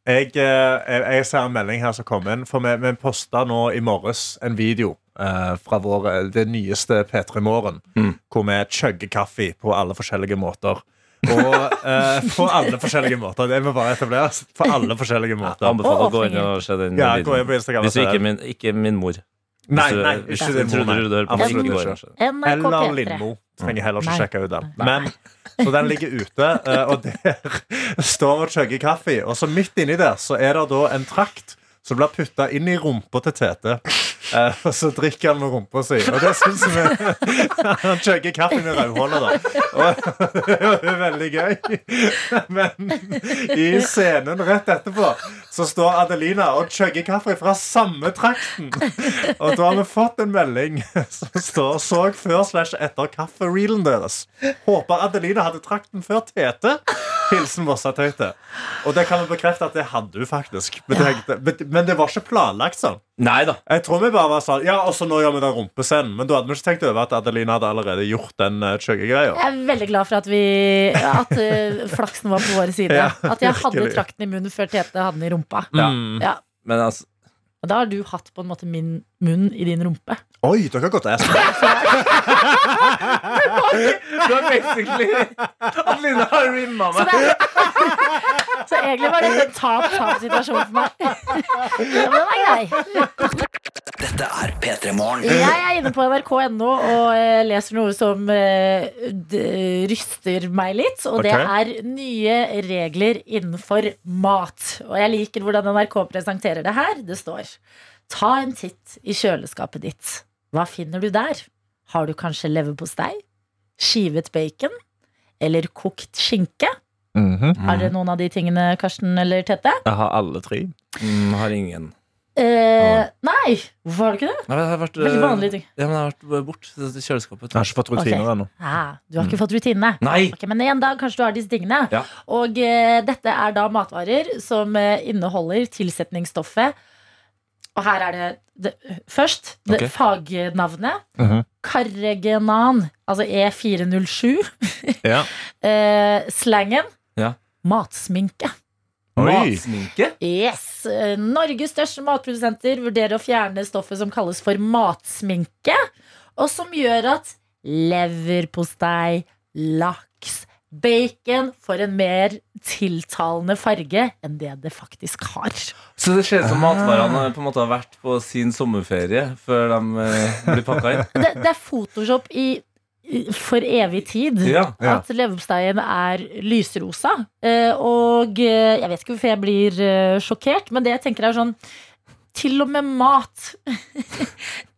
[SPEAKER 4] Jeg, eh, jeg, jeg ser en melding her som kom inn. For vi, vi posta nå i morges en video eh, fra vår, det nyeste P3 Morgen,
[SPEAKER 3] Mm.
[SPEAKER 4] hvor vi chugger kaffe på alle forskjellige måter. Og eh, på alle forskjellige måter. Det må bare etableres. På alle forskjellige
[SPEAKER 3] Jeg
[SPEAKER 4] måter.
[SPEAKER 3] anbefaler
[SPEAKER 2] Og
[SPEAKER 3] å gå inn
[SPEAKER 2] åpningen.
[SPEAKER 3] og se den
[SPEAKER 4] Ja, gå inn på
[SPEAKER 3] videoen.
[SPEAKER 4] Instagram og
[SPEAKER 3] Hvis du
[SPEAKER 4] se
[SPEAKER 3] ikke
[SPEAKER 4] den.
[SPEAKER 3] er min, ikke min mor.
[SPEAKER 4] Nei,
[SPEAKER 3] Hvis du-
[SPEAKER 4] nei,
[SPEAKER 3] hvis
[SPEAKER 4] ikke
[SPEAKER 3] du
[SPEAKER 4] din mor,
[SPEAKER 3] tror
[SPEAKER 4] nei.
[SPEAKER 3] du hører på, så gå
[SPEAKER 4] Absolutt
[SPEAKER 3] inn og
[SPEAKER 4] ikke.
[SPEAKER 3] se den.
[SPEAKER 2] NRK
[SPEAKER 4] Eller
[SPEAKER 2] P3.
[SPEAKER 4] Lindmo. Trenger heller ikke
[SPEAKER 2] Nei.
[SPEAKER 4] sjekke ut den. Men, så den ligger ute, eh, og der står og chugger kaffe. Og så midt inni der så er det da en trakt som blir putta inn i rumpa til Tete. Eh, Og så drikker han med rumpa si. Og det syns vi Han chugger kaffe med rødhåla, da. Og det er jo veldig gøy. Men i scenen rett etterpå så står Adelina og chugger kaffe fra samme trakten. Og da har vi fått en melding som står så før slash etter kaffereelen deres. Håper Adelina hadde trakten før Tete. Hilsen Vossatøyte. Og det kan vi bekrefte at det hadde hun faktisk. Men det, men- men det var ikke planlagt sånn.
[SPEAKER 3] Nei da.
[SPEAKER 4] Jeg tror vi bare var sånn Ja, og så nå gjør vi den rumpescenen. Men da hadde vi ikke tenkt over at Adelina hadde allerede gjort den eh, chugge-greia.
[SPEAKER 2] Jeg er veldig glad for at, vi, at eh, flaksen var på vår side.
[SPEAKER 4] Ja,
[SPEAKER 2] at jeg hadde
[SPEAKER 4] virkelig.
[SPEAKER 2] trakten i munnen før Tete hadde den i rumpa.
[SPEAKER 4] Mm.
[SPEAKER 2] Ja.
[SPEAKER 3] Men altså,
[SPEAKER 2] Og da har du hatt på en måte min munn i din rumpe.
[SPEAKER 4] Oi, dere har gått ass.
[SPEAKER 3] du er basically Adelina har rimma
[SPEAKER 2] Så, det, så egentlig var det en tap-tap-situasjon for meg. Ja, men den er grei.
[SPEAKER 5] Dette er P3 Morgen.
[SPEAKER 2] Jeg er inne på nrk.no og eh, leser noe som eh, d- ryster meg litt. Og det er
[SPEAKER 4] Ok.
[SPEAKER 2] nye regler innenfor mat. Og jeg liker hvordan NRK presenterer det her. Det står Ta en titt i kjøleskapet ditt. Hva finner du der? Har du kanskje leverpostei? Skivet bacon? Eller kokt skinke? Er det noen av de tingene, Karsten eller Tette?
[SPEAKER 4] Jeg har alle tre.
[SPEAKER 3] Mm, har ingen.
[SPEAKER 2] Eh, nei! Hvorfor har du ikke det?
[SPEAKER 3] Nei, men jeg har vært,
[SPEAKER 2] Veldig
[SPEAKER 3] eh,
[SPEAKER 2] vanlige ting.
[SPEAKER 3] Ja, men jeg har vært eh, bort til kjøleskapet.
[SPEAKER 4] Jeg har ikke fått rutiner
[SPEAKER 2] Ok.
[SPEAKER 4] ennå.
[SPEAKER 2] Ah, du har ikke fått rutinene?
[SPEAKER 3] Nei!
[SPEAKER 2] Ok, men en dag kanskje du har disse tingene.
[SPEAKER 3] Ja.
[SPEAKER 2] Og eh, dette er da matvarer som eh, inneholder tilsetningsstoffet. Og her er det, det først det,
[SPEAKER 3] Ok.
[SPEAKER 2] fagnavnet.
[SPEAKER 4] Mhm.
[SPEAKER 2] Karregenan, altså E407.
[SPEAKER 4] Ja.
[SPEAKER 2] eh, slangen.
[SPEAKER 3] Ja.
[SPEAKER 2] Matsminke.
[SPEAKER 4] Oi.
[SPEAKER 3] Matsminke?
[SPEAKER 2] Yes! Eh, Norges største matprodusenter vurderer å fjerne stoffet som kalles for matsminke, og som gjør at leverpostei, laks, bacon får en mer tiltalende farge enn det det faktisk har.
[SPEAKER 3] Så det ser ut som matvarene på en måte har vært på sin sommerferie før de eh, blir pakka inn.
[SPEAKER 2] Det, det er Photoshop i, i, for evig tid.
[SPEAKER 3] Ja.
[SPEAKER 4] Ja.
[SPEAKER 2] At leverposteien er lysrosa. Eh, og eh, jeg vet ikke hvorfor jeg blir eh, sjokkert, men det jeg tenker er sånn Til og med mat.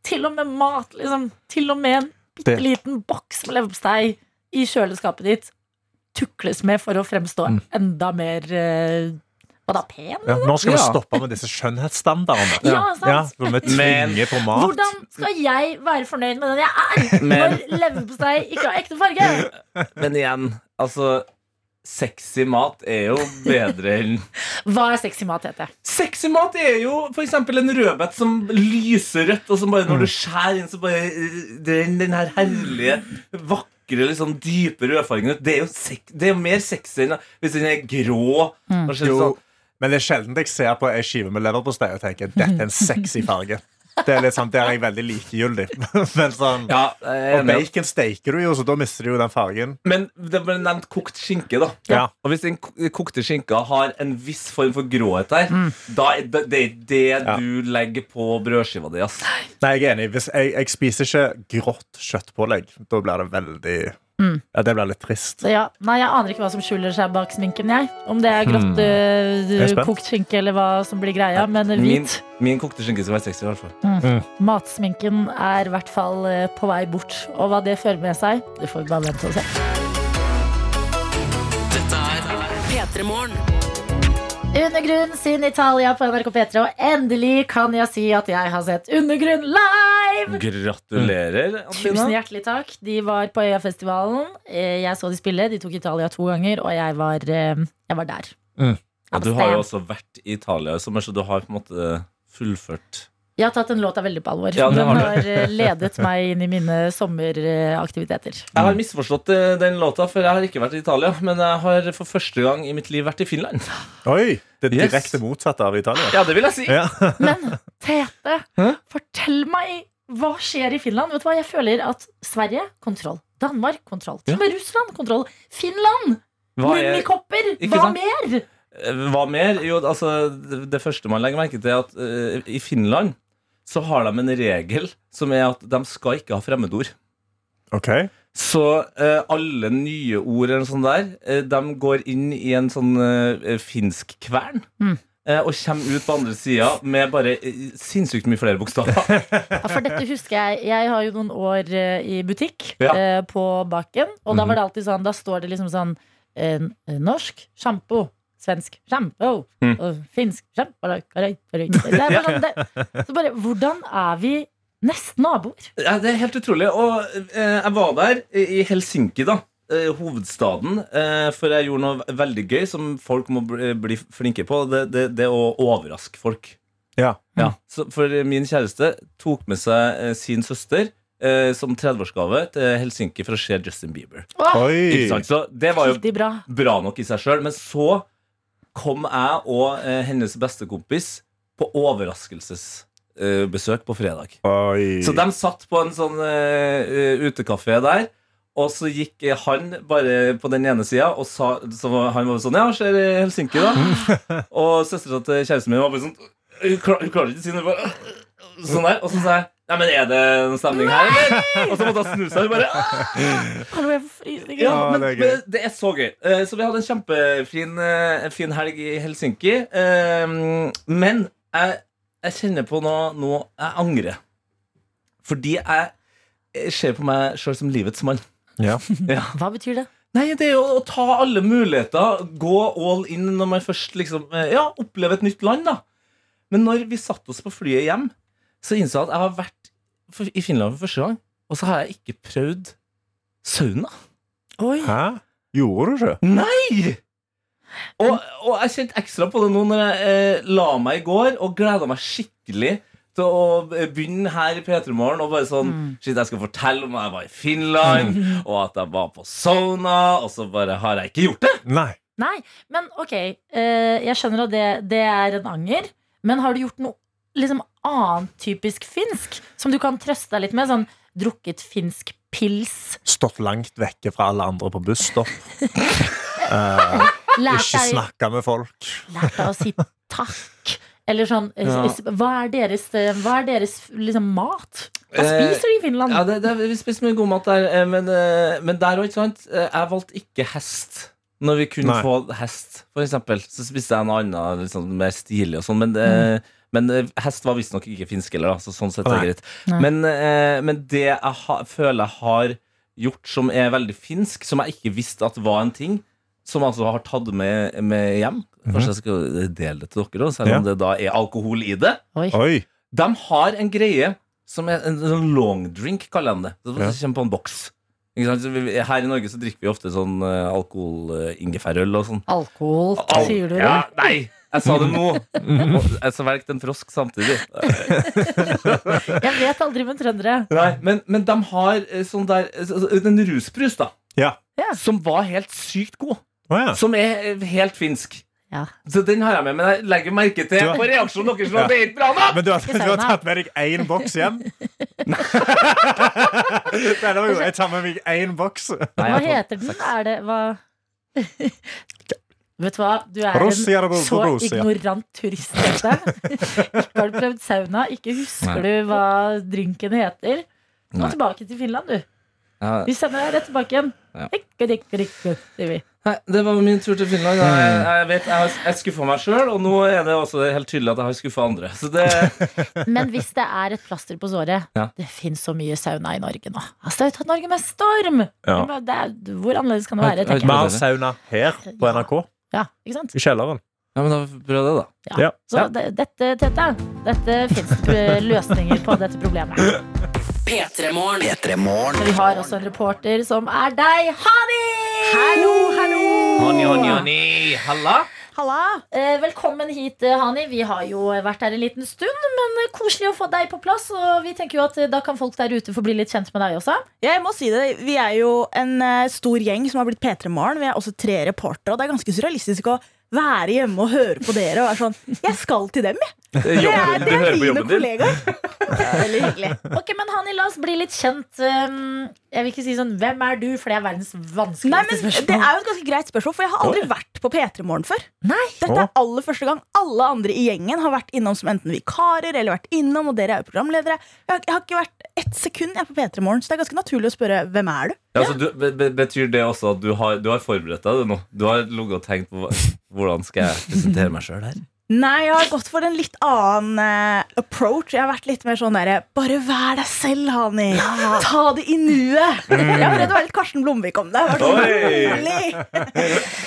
[SPEAKER 2] til og med mat, liksom. Til og med en bitte
[SPEAKER 4] Det-
[SPEAKER 2] liten boks med leverpostei i kjøleskapet ditt tukles med for å fremstå
[SPEAKER 4] Mm.
[SPEAKER 2] enda mer eh, Hva da, pen?
[SPEAKER 4] Ja, nå skal vi
[SPEAKER 3] Ja.
[SPEAKER 4] stoppe med disse skjønnhetsstandardene.
[SPEAKER 2] Ja, sant.
[SPEAKER 4] hvor vi tvinger på mat.
[SPEAKER 2] Hvordan skal jeg være fornøyd med den jeg er,
[SPEAKER 3] Men-
[SPEAKER 2] når leverpostei ikke har ekte farge?
[SPEAKER 3] Men igjen, altså Sexy mat er jo bedre enn
[SPEAKER 2] Hva er sexy mat, heter det?
[SPEAKER 3] Sexy mat er jo f.eks. en rødbet som lyser rødt, og som bare når du
[SPEAKER 2] Mm.
[SPEAKER 3] skjærer inn, så bare eh, den, den her herlige, vakre, liksom dype rødfargen ut. Det er jo sek det er jo mer sexy enn hvis den er grå.
[SPEAKER 2] Mm.
[SPEAKER 3] og skjønner
[SPEAKER 4] Jo,
[SPEAKER 3] sånn.
[SPEAKER 4] men det er sjelden jeg ser på ei skive med leverpostei og tenker dette er en sexy farge. Det er litt sånn, Der er jeg veldig likegyldig. Men sånn,
[SPEAKER 3] Ja, jeg er
[SPEAKER 4] og
[SPEAKER 3] enig.
[SPEAKER 4] bacon steiker du jo, så da mister du jo den fargen.
[SPEAKER 3] Men det ble nevnt kokt skinke, da.
[SPEAKER 4] Ja.
[SPEAKER 3] Og hvis den ko- kokte skinka har en viss form for gråhet der,
[SPEAKER 2] Mm.
[SPEAKER 3] da er det det, er det
[SPEAKER 4] Ja.
[SPEAKER 3] du legger på brødskiva di. ass.
[SPEAKER 4] Nei, jeg er enig. Hvis jeg, jeg spiser ikke grått kjøttpålegg. Da blir det veldig
[SPEAKER 3] Mm.
[SPEAKER 4] Ja, det blir litt trist.
[SPEAKER 2] Så ja, nei, Jeg aner ikke hva som skjuler seg bak sminken. jeg Om det er grått,
[SPEAKER 4] Hmm. Jeg er
[SPEAKER 2] øh,
[SPEAKER 4] spent.
[SPEAKER 2] kokt skinke eller hva som blir greia. Men
[SPEAKER 3] Min,
[SPEAKER 2] hvit
[SPEAKER 3] min kokte skinke skal være sexy, i hvert fall.
[SPEAKER 2] matsminken er i hvert fall øh, på vei bort. Og hva det fører med seg, det får vi bare vente og se.
[SPEAKER 1] P3morgen.
[SPEAKER 2] Undergrunn sin Italia på NRK P3, og endelig kan jeg si at jeg har sett Undergrunn live!
[SPEAKER 3] Gratulerer,
[SPEAKER 2] Tusen
[SPEAKER 3] Adelina.
[SPEAKER 2] hjertelig takk. De var på Øyafestivalen. Eh, Jeg så de spille. De tok Italia to ganger, og jeg var, eh, jeg var der.
[SPEAKER 4] Mm.
[SPEAKER 3] Ja, du har jo også vært i Italia i sommer, så du har på en måte fullført
[SPEAKER 2] Jeg har tatt den låta veldig på alvor.
[SPEAKER 3] Ja, det
[SPEAKER 2] den
[SPEAKER 3] har du.
[SPEAKER 2] har eh, ledet meg inn i mine sommeraktiviteter.
[SPEAKER 3] Jeg har misforstått eh, den låta, for jeg har ikke vært i Italia. Men jeg har for første gang i mitt liv vært i Finland.
[SPEAKER 4] Oi! Det
[SPEAKER 3] Yes.
[SPEAKER 4] direkte motsatte av Italia.
[SPEAKER 3] Ja, det vil jeg si.
[SPEAKER 4] Ja.
[SPEAKER 2] Men Tete,
[SPEAKER 3] Hæ?
[SPEAKER 2] fortell meg hva skjer i Finland? Vet du hva, Jeg føler at Sverige kontroll. Danmark kontroll. Til og med Russland kontroll. Finland!
[SPEAKER 3] Hva, er,
[SPEAKER 2] Mummikopper!
[SPEAKER 3] Ikke
[SPEAKER 2] Hva
[SPEAKER 3] sant?
[SPEAKER 2] mer?
[SPEAKER 3] Eh, hva mer? Jo, altså, det- det første man legger merke til, er at eh, i Finland så har de en regel som er at de skal ikke ha fremmedord.
[SPEAKER 4] Ok.
[SPEAKER 3] Så eh, alle nye ord eller sånn der, eh, de går inn i en sånn eh, finsk kvern.
[SPEAKER 2] Mm.
[SPEAKER 3] eh, Og kommer ut på andre sida med bare eh, sinnssykt mye flere bokstaver.
[SPEAKER 2] Ja, for dette husker jeg. Jeg har jo noen år eh, i butikk
[SPEAKER 3] Ja. Mhm.
[SPEAKER 2] eh, på baken. Og da var det alltid sånn, da står det liksom sånn eh, Norsk sjampo. Svensk sjampo.
[SPEAKER 3] Mm.
[SPEAKER 2] Og finsk sjampo. Det er bare sånn, det, så bare, hvordan er vi nesten naboer?
[SPEAKER 3] Ja, det er helt utrolig. Og eh, jeg var der i i Helsinki, da. eh, Hovedstaden. eh, For jeg gjorde noe veldig gøy som folk må bli bli flinke på. Det, det, det å overraske folk.
[SPEAKER 4] Ja.
[SPEAKER 3] Ja, så for min kjæreste tok med seg eh, sin søster eh, som 30-årsgave til Helsinki for å se Justin Bieber.
[SPEAKER 4] Oi!
[SPEAKER 3] Ikke sant? Så det var jo
[SPEAKER 2] Veldig bra.
[SPEAKER 3] bra nok i seg sjøl. Men så kom jeg og eh, hennes bestekompis på overraskelsesbesøk på fredag.
[SPEAKER 4] Oi.
[SPEAKER 3] Så de satt på en sånn eh, utekafé der. Og så gikk eh, han bare på den ene sida, og sa, så var- han var sånn Ja, ser eh, Helsinki, da. og søstera til kjæresten min var bare sånn Hun klar- hun klarte ikke å si noe. bare, Sånn der. Og så sa jeg Nei, men er det en stemning her, eller? Og så måtte hun snu seg. og Bare, «Ah!»
[SPEAKER 2] Hallo, jeg får frysninger.
[SPEAKER 3] ja,
[SPEAKER 4] Ja,
[SPEAKER 3] men,
[SPEAKER 4] det er gøy.
[SPEAKER 3] men det er så gøy. Eh, Så vi hadde en kjempefin eh, fin helg i Helsinki. Eh, Men jeg, jeg kjenner på noe, noe jeg angrer. Fordi jeg jeg ser på meg sjøl som livets mann.
[SPEAKER 4] Ja.
[SPEAKER 2] Hva betyr det?
[SPEAKER 3] Nei, det er jo å ta alle muligheter, gå all in når man først liksom eh, Ja, opplever et nytt land, da. Men når vi satte oss på flyet hjem, så innså jeg at jeg har vært for- i Finland for første gang, og så har jeg ikke prøvd sauna. Oi.
[SPEAKER 4] Hæ? Gjorde du ikke?
[SPEAKER 3] Nei! Og, og jeg kjente ekstra på det nå når jeg eh, la meg i går og gleda meg skikkelig til å eh, begynne her i P3 Morgen og bare sånn
[SPEAKER 2] Mm.
[SPEAKER 3] Shit, jeg skal fortelle om jeg var i Finland, og at jeg var på sauna, og så bare har jeg ikke gjort det.
[SPEAKER 4] Nei.
[SPEAKER 2] Nei, men ok. eh, jeg skjønner at det, det er en anger. Men har du gjort noe liksom annet typisk finsk som du kan trøste deg litt med? Sånn drukket finsk pils?
[SPEAKER 4] Stått langt vekke fra alle andre på busstopp.
[SPEAKER 2] Lært
[SPEAKER 4] Ikke
[SPEAKER 2] deg,
[SPEAKER 4] snakka med folk.
[SPEAKER 2] lært deg å si takk? Eller sånn eh,
[SPEAKER 3] Ja.
[SPEAKER 2] s- Hva er deres, eh, hva er deres liksom, mat? Hva
[SPEAKER 3] Eh,
[SPEAKER 2] spiser de i Finland?
[SPEAKER 3] Ja, det, det, Vi spiste mye god mat der, eh, men, eh, men der òg, ikke sant. Eh, Jeg valgte ikke hest. Når vi kunne
[SPEAKER 4] Nei.
[SPEAKER 3] få hest, for eksempel, så spiste jeg noe annet liksom, mer stilig og sånn, men, eh, men eh, hest var visstnok ikke finsk heller, da, så sånn sett er det
[SPEAKER 4] Nei.
[SPEAKER 3] greit. Men, eh, men det jeg ha, føler jeg har gjort som er veldig finsk, som jeg ikke visste at var en ting, som jeg altså har tatt med, med hjem Kanskje jeg skal dele det til dere, da, selv om
[SPEAKER 4] Mhm. Ja.
[SPEAKER 3] det da er alkohol i det.
[SPEAKER 4] Oi.
[SPEAKER 3] De har en greie som er en sånn long drink, kaller de det. sånn Det
[SPEAKER 4] Ja.
[SPEAKER 3] kommer på en boks. Ikke sant? Så vi- Her i Norge så drikker vi ofte sånn eh, alkohol, eh, ingefærøl og sånn.
[SPEAKER 2] Alkohol,
[SPEAKER 3] Al-
[SPEAKER 2] sier du
[SPEAKER 3] Ja,
[SPEAKER 2] det?
[SPEAKER 3] nei! Jeg sa det nå. Og Jeg svelget en frosk samtidig.
[SPEAKER 2] Jeg vet aldri med trøndere.
[SPEAKER 3] Nei, men, men de har eh, sånn der eh, så- så- En rusbrus, da.
[SPEAKER 4] Ja.
[SPEAKER 3] Som var helt sykt god.
[SPEAKER 4] Å ja.
[SPEAKER 3] Som er eh, helt finsk.
[SPEAKER 2] Ja.
[SPEAKER 3] Så den har jeg med, men jeg legger merke til
[SPEAKER 4] Du-
[SPEAKER 3] på reaksjonen deres at det er ikke bra nok!
[SPEAKER 4] Men du har,
[SPEAKER 2] Ikke
[SPEAKER 4] du har
[SPEAKER 2] sauna.
[SPEAKER 4] tatt med deg én boks hjem? Denne var jo Jeg tar med meg én boks.
[SPEAKER 2] Hva heter den? Er det hva Vet du hva, du er en
[SPEAKER 4] Russia, Russia,
[SPEAKER 2] så
[SPEAKER 4] Russia.
[SPEAKER 2] ignorant turist. Dette. Ikke har du prøvd sauna, ikke husker
[SPEAKER 3] Nei.
[SPEAKER 2] du hva drinken heter. Gå
[SPEAKER 3] Nei.
[SPEAKER 2] tilbake til Finland, du.
[SPEAKER 3] Ja.
[SPEAKER 2] Vi sender deg rett tilbake igjen.
[SPEAKER 3] Ja.
[SPEAKER 2] Ikke, ikke, ikke, sier vi.
[SPEAKER 3] Nei, det var min tur til Finland. da. Jeg, jeg vet, jeg, har- jeg skuffa meg sjøl, og nå er det også helt tydelig at jeg har skuffa andre. Så det,
[SPEAKER 2] Men hvis det er et plaster på såret
[SPEAKER 3] Ja.
[SPEAKER 2] Det fins så mye sauna i Norge nå. Altså, det har tatt Norge med storm!
[SPEAKER 4] Ja.
[SPEAKER 2] Det er bare- Det er, hvor annerledes kan det være?
[SPEAKER 3] Har-
[SPEAKER 2] tenker jeg.
[SPEAKER 4] Vi har sauna her på NRK,
[SPEAKER 2] Ja, ikke sant?
[SPEAKER 4] i kjelleren.
[SPEAKER 3] ja, men da prøv det, da.
[SPEAKER 2] Ja.
[SPEAKER 4] Ja.
[SPEAKER 2] Så
[SPEAKER 4] Ja.
[SPEAKER 2] Det, dette, Tete, dette fins løsninger på dette problemet.
[SPEAKER 1] P3morgen.
[SPEAKER 5] P3 Morgen.
[SPEAKER 2] Men vi har også en reporter som er deg, Hani! Hallo, hallo!
[SPEAKER 3] Honey, honey, honey. Halla.
[SPEAKER 2] Halla! Eh, velkommen hit, eh, Hani. Vi har jo vært her en liten stund, men eh, koselig å få deg på plass. Og vi tenker jo at eh, da kan folk der ute få bli litt kjent med deg også.
[SPEAKER 7] Ja, jeg må si det. Vi er jo en eh, stor gjeng som har blitt P3 Morgen. Vi er også tre reportere, og det er ganske surrealistisk å være hjemme og høre på dere og være sånn Jeg skal til dem, jeg.
[SPEAKER 3] Det er
[SPEAKER 7] Det
[SPEAKER 3] jobben-
[SPEAKER 7] er,
[SPEAKER 3] du
[SPEAKER 7] det
[SPEAKER 3] hører
[SPEAKER 7] er
[SPEAKER 3] på
[SPEAKER 7] mine
[SPEAKER 3] jobben din.
[SPEAKER 7] kollegaer.
[SPEAKER 2] Veldig hyggelig. Ok, men Hani, la oss bli litt kjent. Um, Jeg vil ikke si sånn 'Hvem er du?' for det er verdens vanskeligste
[SPEAKER 7] Nei, men
[SPEAKER 2] spørsmål.
[SPEAKER 7] Det er jo et ganske greit spørsmål, for jeg har aldri vært på P3 Morgen før.
[SPEAKER 2] Nei.
[SPEAKER 7] Dette er aller første gang alle andre i gjengen har vært innom som enten vikarer eller vært innom, og dere er jo programledere. Jeg har, jeg har ikke vært ett sekund jeg er på P3 Morgen, så det er ganske naturlig å spørre hvem er du?
[SPEAKER 3] Ja, så du, be, be, betyr det også at du har, du har forberedt deg det nå? Du har ligget og tenkt på hva- hvordan skal jeg presentere meg sjøl her?
[SPEAKER 7] Nei, jeg har gått for en litt annen eh, approach. Jeg har vært litt mer sånn derre Bare vær deg selv, Hani. Ta det i nuet. Jeg har prøvd å være litt Karsten Blomvik om det. Jeg har vært
[SPEAKER 3] Oi.
[SPEAKER 7] sånn, rolig.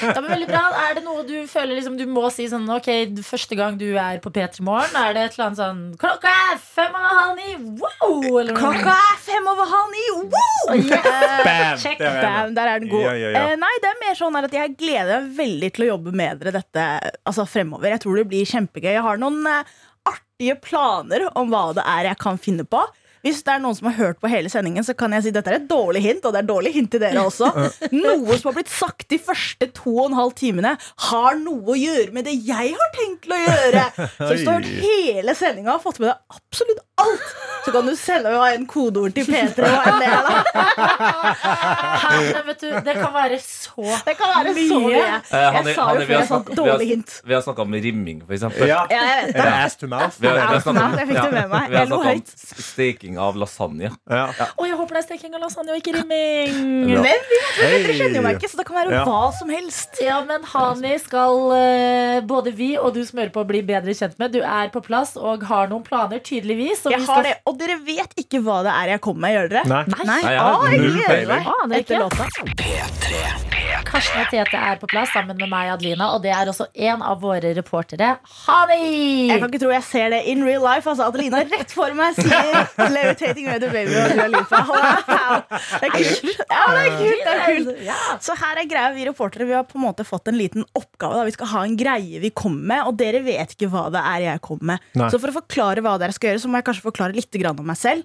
[SPEAKER 2] Ja, men veldig bra. Er det noe du føler liksom, du må si sånn Ok, første gang du er på P3 Morgen, er det et eller annet sånn Klokka er fem og halv ni! Wow! Eller noe.
[SPEAKER 7] Klokka er fem over halv ni. Eh, Wow!
[SPEAKER 2] Oh, yeah.
[SPEAKER 4] Bam!
[SPEAKER 2] Check
[SPEAKER 4] Der er den.
[SPEAKER 7] Bam, der er den god.
[SPEAKER 4] Ja, ja, ja.
[SPEAKER 7] Eh, nei, det er mer sånn her at jeg gleder meg veldig til å jobbe med dere dette altså, fremover. Jeg tror det blir kjempegøy. Jeg har noen eh, artige planer om hva det er jeg kan finne på. Hvis det er noen som har hørt på hele sendingen, så kan jeg si dette er et dårlig hint. Og det er dårlig hint til dere også. Noe som har blitt sagt de første to og en halv timene, har noe å gjøre med det jeg har tenkt til å gjøre. Så hvis du har hørt hele sendinga og fått med deg absolutt alt, så kan du sende meg en kodeord til P3 og en del av det.
[SPEAKER 2] Hæ, men vet du, det kan være så
[SPEAKER 7] Det kan være så
[SPEAKER 2] Mye.
[SPEAKER 7] mye.
[SPEAKER 3] Eh, Hanni-
[SPEAKER 7] Jeg sa
[SPEAKER 3] Hanni,
[SPEAKER 7] jo
[SPEAKER 3] vi
[SPEAKER 7] før
[SPEAKER 3] har
[SPEAKER 7] jeg sa
[SPEAKER 3] snakket- vi har-
[SPEAKER 7] dårlig hint.
[SPEAKER 3] Vi har snakka om rimming, for eksempel.
[SPEAKER 4] Ja.
[SPEAKER 7] Ja, jeg vet
[SPEAKER 4] Er
[SPEAKER 7] det.
[SPEAKER 4] det ass to mouth?
[SPEAKER 3] Vi har, vi har
[SPEAKER 7] Ass
[SPEAKER 3] snakket
[SPEAKER 7] to
[SPEAKER 3] om-
[SPEAKER 7] mouth, jeg fikk det med meg.
[SPEAKER 3] Vi har
[SPEAKER 7] Jeg lo
[SPEAKER 3] snakket om
[SPEAKER 7] høyt.
[SPEAKER 3] s- steking av lasagne.
[SPEAKER 4] Ja.
[SPEAKER 2] Å, jeg håper det er steking av lasagne og ikke rimming.
[SPEAKER 3] Ja.
[SPEAKER 7] Men vi vet, dere kjenner jo meg ikke, så det kan være
[SPEAKER 4] Ja.
[SPEAKER 7] hva som helst.
[SPEAKER 2] Ja, men Hani skal eh, både vi og du som hører på, bli bedre kjent med. Du er på plass og har noen planer, tydeligvis. som
[SPEAKER 7] Jeg
[SPEAKER 2] vi skal
[SPEAKER 7] har det, Og dere vet ikke hva det er jeg kommer med, gjør dere?
[SPEAKER 4] Nei.
[SPEAKER 7] Nei.
[SPEAKER 3] Nei, jeg
[SPEAKER 7] Ah,
[SPEAKER 3] har
[SPEAKER 7] jeg
[SPEAKER 3] null
[SPEAKER 7] gleder
[SPEAKER 3] peiling.
[SPEAKER 7] meg
[SPEAKER 2] Aner
[SPEAKER 7] etter
[SPEAKER 2] ikke.
[SPEAKER 7] låta.
[SPEAKER 2] Karsten og Tete er på plass sammen med meg, Adelina, og det er også en av våre reportere, Hani!
[SPEAKER 7] Jeg kan ikke tro jeg ser det in real life. Altså, Adelina rett for meg sier 'Levitating with a baby' og Dua Lipa. Wow. Det er kult. Ja, det er kult. Det er kult.
[SPEAKER 2] Ja.
[SPEAKER 7] Så her er greia, vi reportere Vi har på en måte fått en liten oppgave. Da. Vi skal ha en greie vi kommer med, og dere vet ikke hva det er jeg kommer med.
[SPEAKER 4] Nei.
[SPEAKER 7] Så for å forklare hva dere skal gjøre, så må jeg kanskje forklare litt grann om meg selv.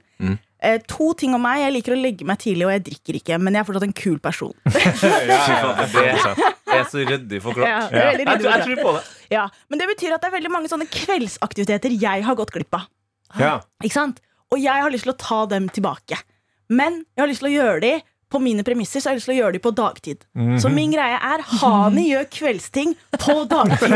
[SPEAKER 7] Eh, to ting om meg. Jeg liker å legge meg tidlig, og jeg drikker ikke. Men jeg er fortsatt en kul person.
[SPEAKER 3] Fy faen, Det er så ryddig
[SPEAKER 7] Ja,
[SPEAKER 3] forklart.
[SPEAKER 7] det er
[SPEAKER 3] Jeg,
[SPEAKER 7] veldig ryddig.
[SPEAKER 3] jeg tror på det.
[SPEAKER 7] ja. Men det betyr at det er veldig mange sånne kveldsaktiviteter jeg har gått glipp av.
[SPEAKER 4] Ja.
[SPEAKER 7] Ikke sant? Og jeg har lyst til å ta dem tilbake. Men jeg har lyst til å gjøre de på mine premisser, så jeg har lyst til å gjøre de på dagtid. Så min greie er Hani gjør kveldsting på dagtid.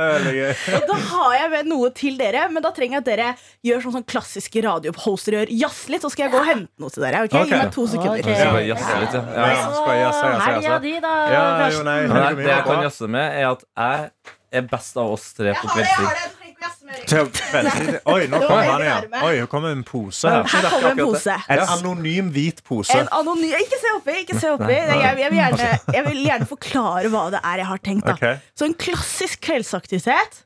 [SPEAKER 7] Og da har jeg med noe til dere, men da trenger jeg at dere gjør sånn som klassiske radiohoster gjør. Jazz litt, så skal jeg gå og hente noe til dere. ok?
[SPEAKER 4] Ok.
[SPEAKER 7] Gi meg to
[SPEAKER 2] Ok.
[SPEAKER 7] sekunder.
[SPEAKER 3] Jeg skal bare jazze litt, ja. ja.
[SPEAKER 4] Ja, skal jeg jazze, jazze,
[SPEAKER 2] helga
[SPEAKER 4] jazze?
[SPEAKER 2] di, da.
[SPEAKER 4] Ja, jo,
[SPEAKER 2] Karsten.
[SPEAKER 4] nei,
[SPEAKER 3] Men jeg-
[SPEAKER 4] Helge, vi
[SPEAKER 3] Det jeg
[SPEAKER 4] har bra.
[SPEAKER 3] kan jazze med, er at jeg er best av oss tre på
[SPEAKER 7] det,
[SPEAKER 3] kveldstid.
[SPEAKER 7] det. Jeg trenger jazzmøring.
[SPEAKER 4] Til kveldstid. Oi, nå kom han igjen. Oi, det kommer en pose her.
[SPEAKER 7] Her kommer en pose.
[SPEAKER 4] En anonym hvit pose.
[SPEAKER 7] En anonym Ikke se oppi! ikke se oppi jeg, jeg, vil gjerne, jeg vil gjerne forklare hva det er jeg har tenkt. Da.
[SPEAKER 4] Ok.
[SPEAKER 7] Så en klassisk kveldsaktivitet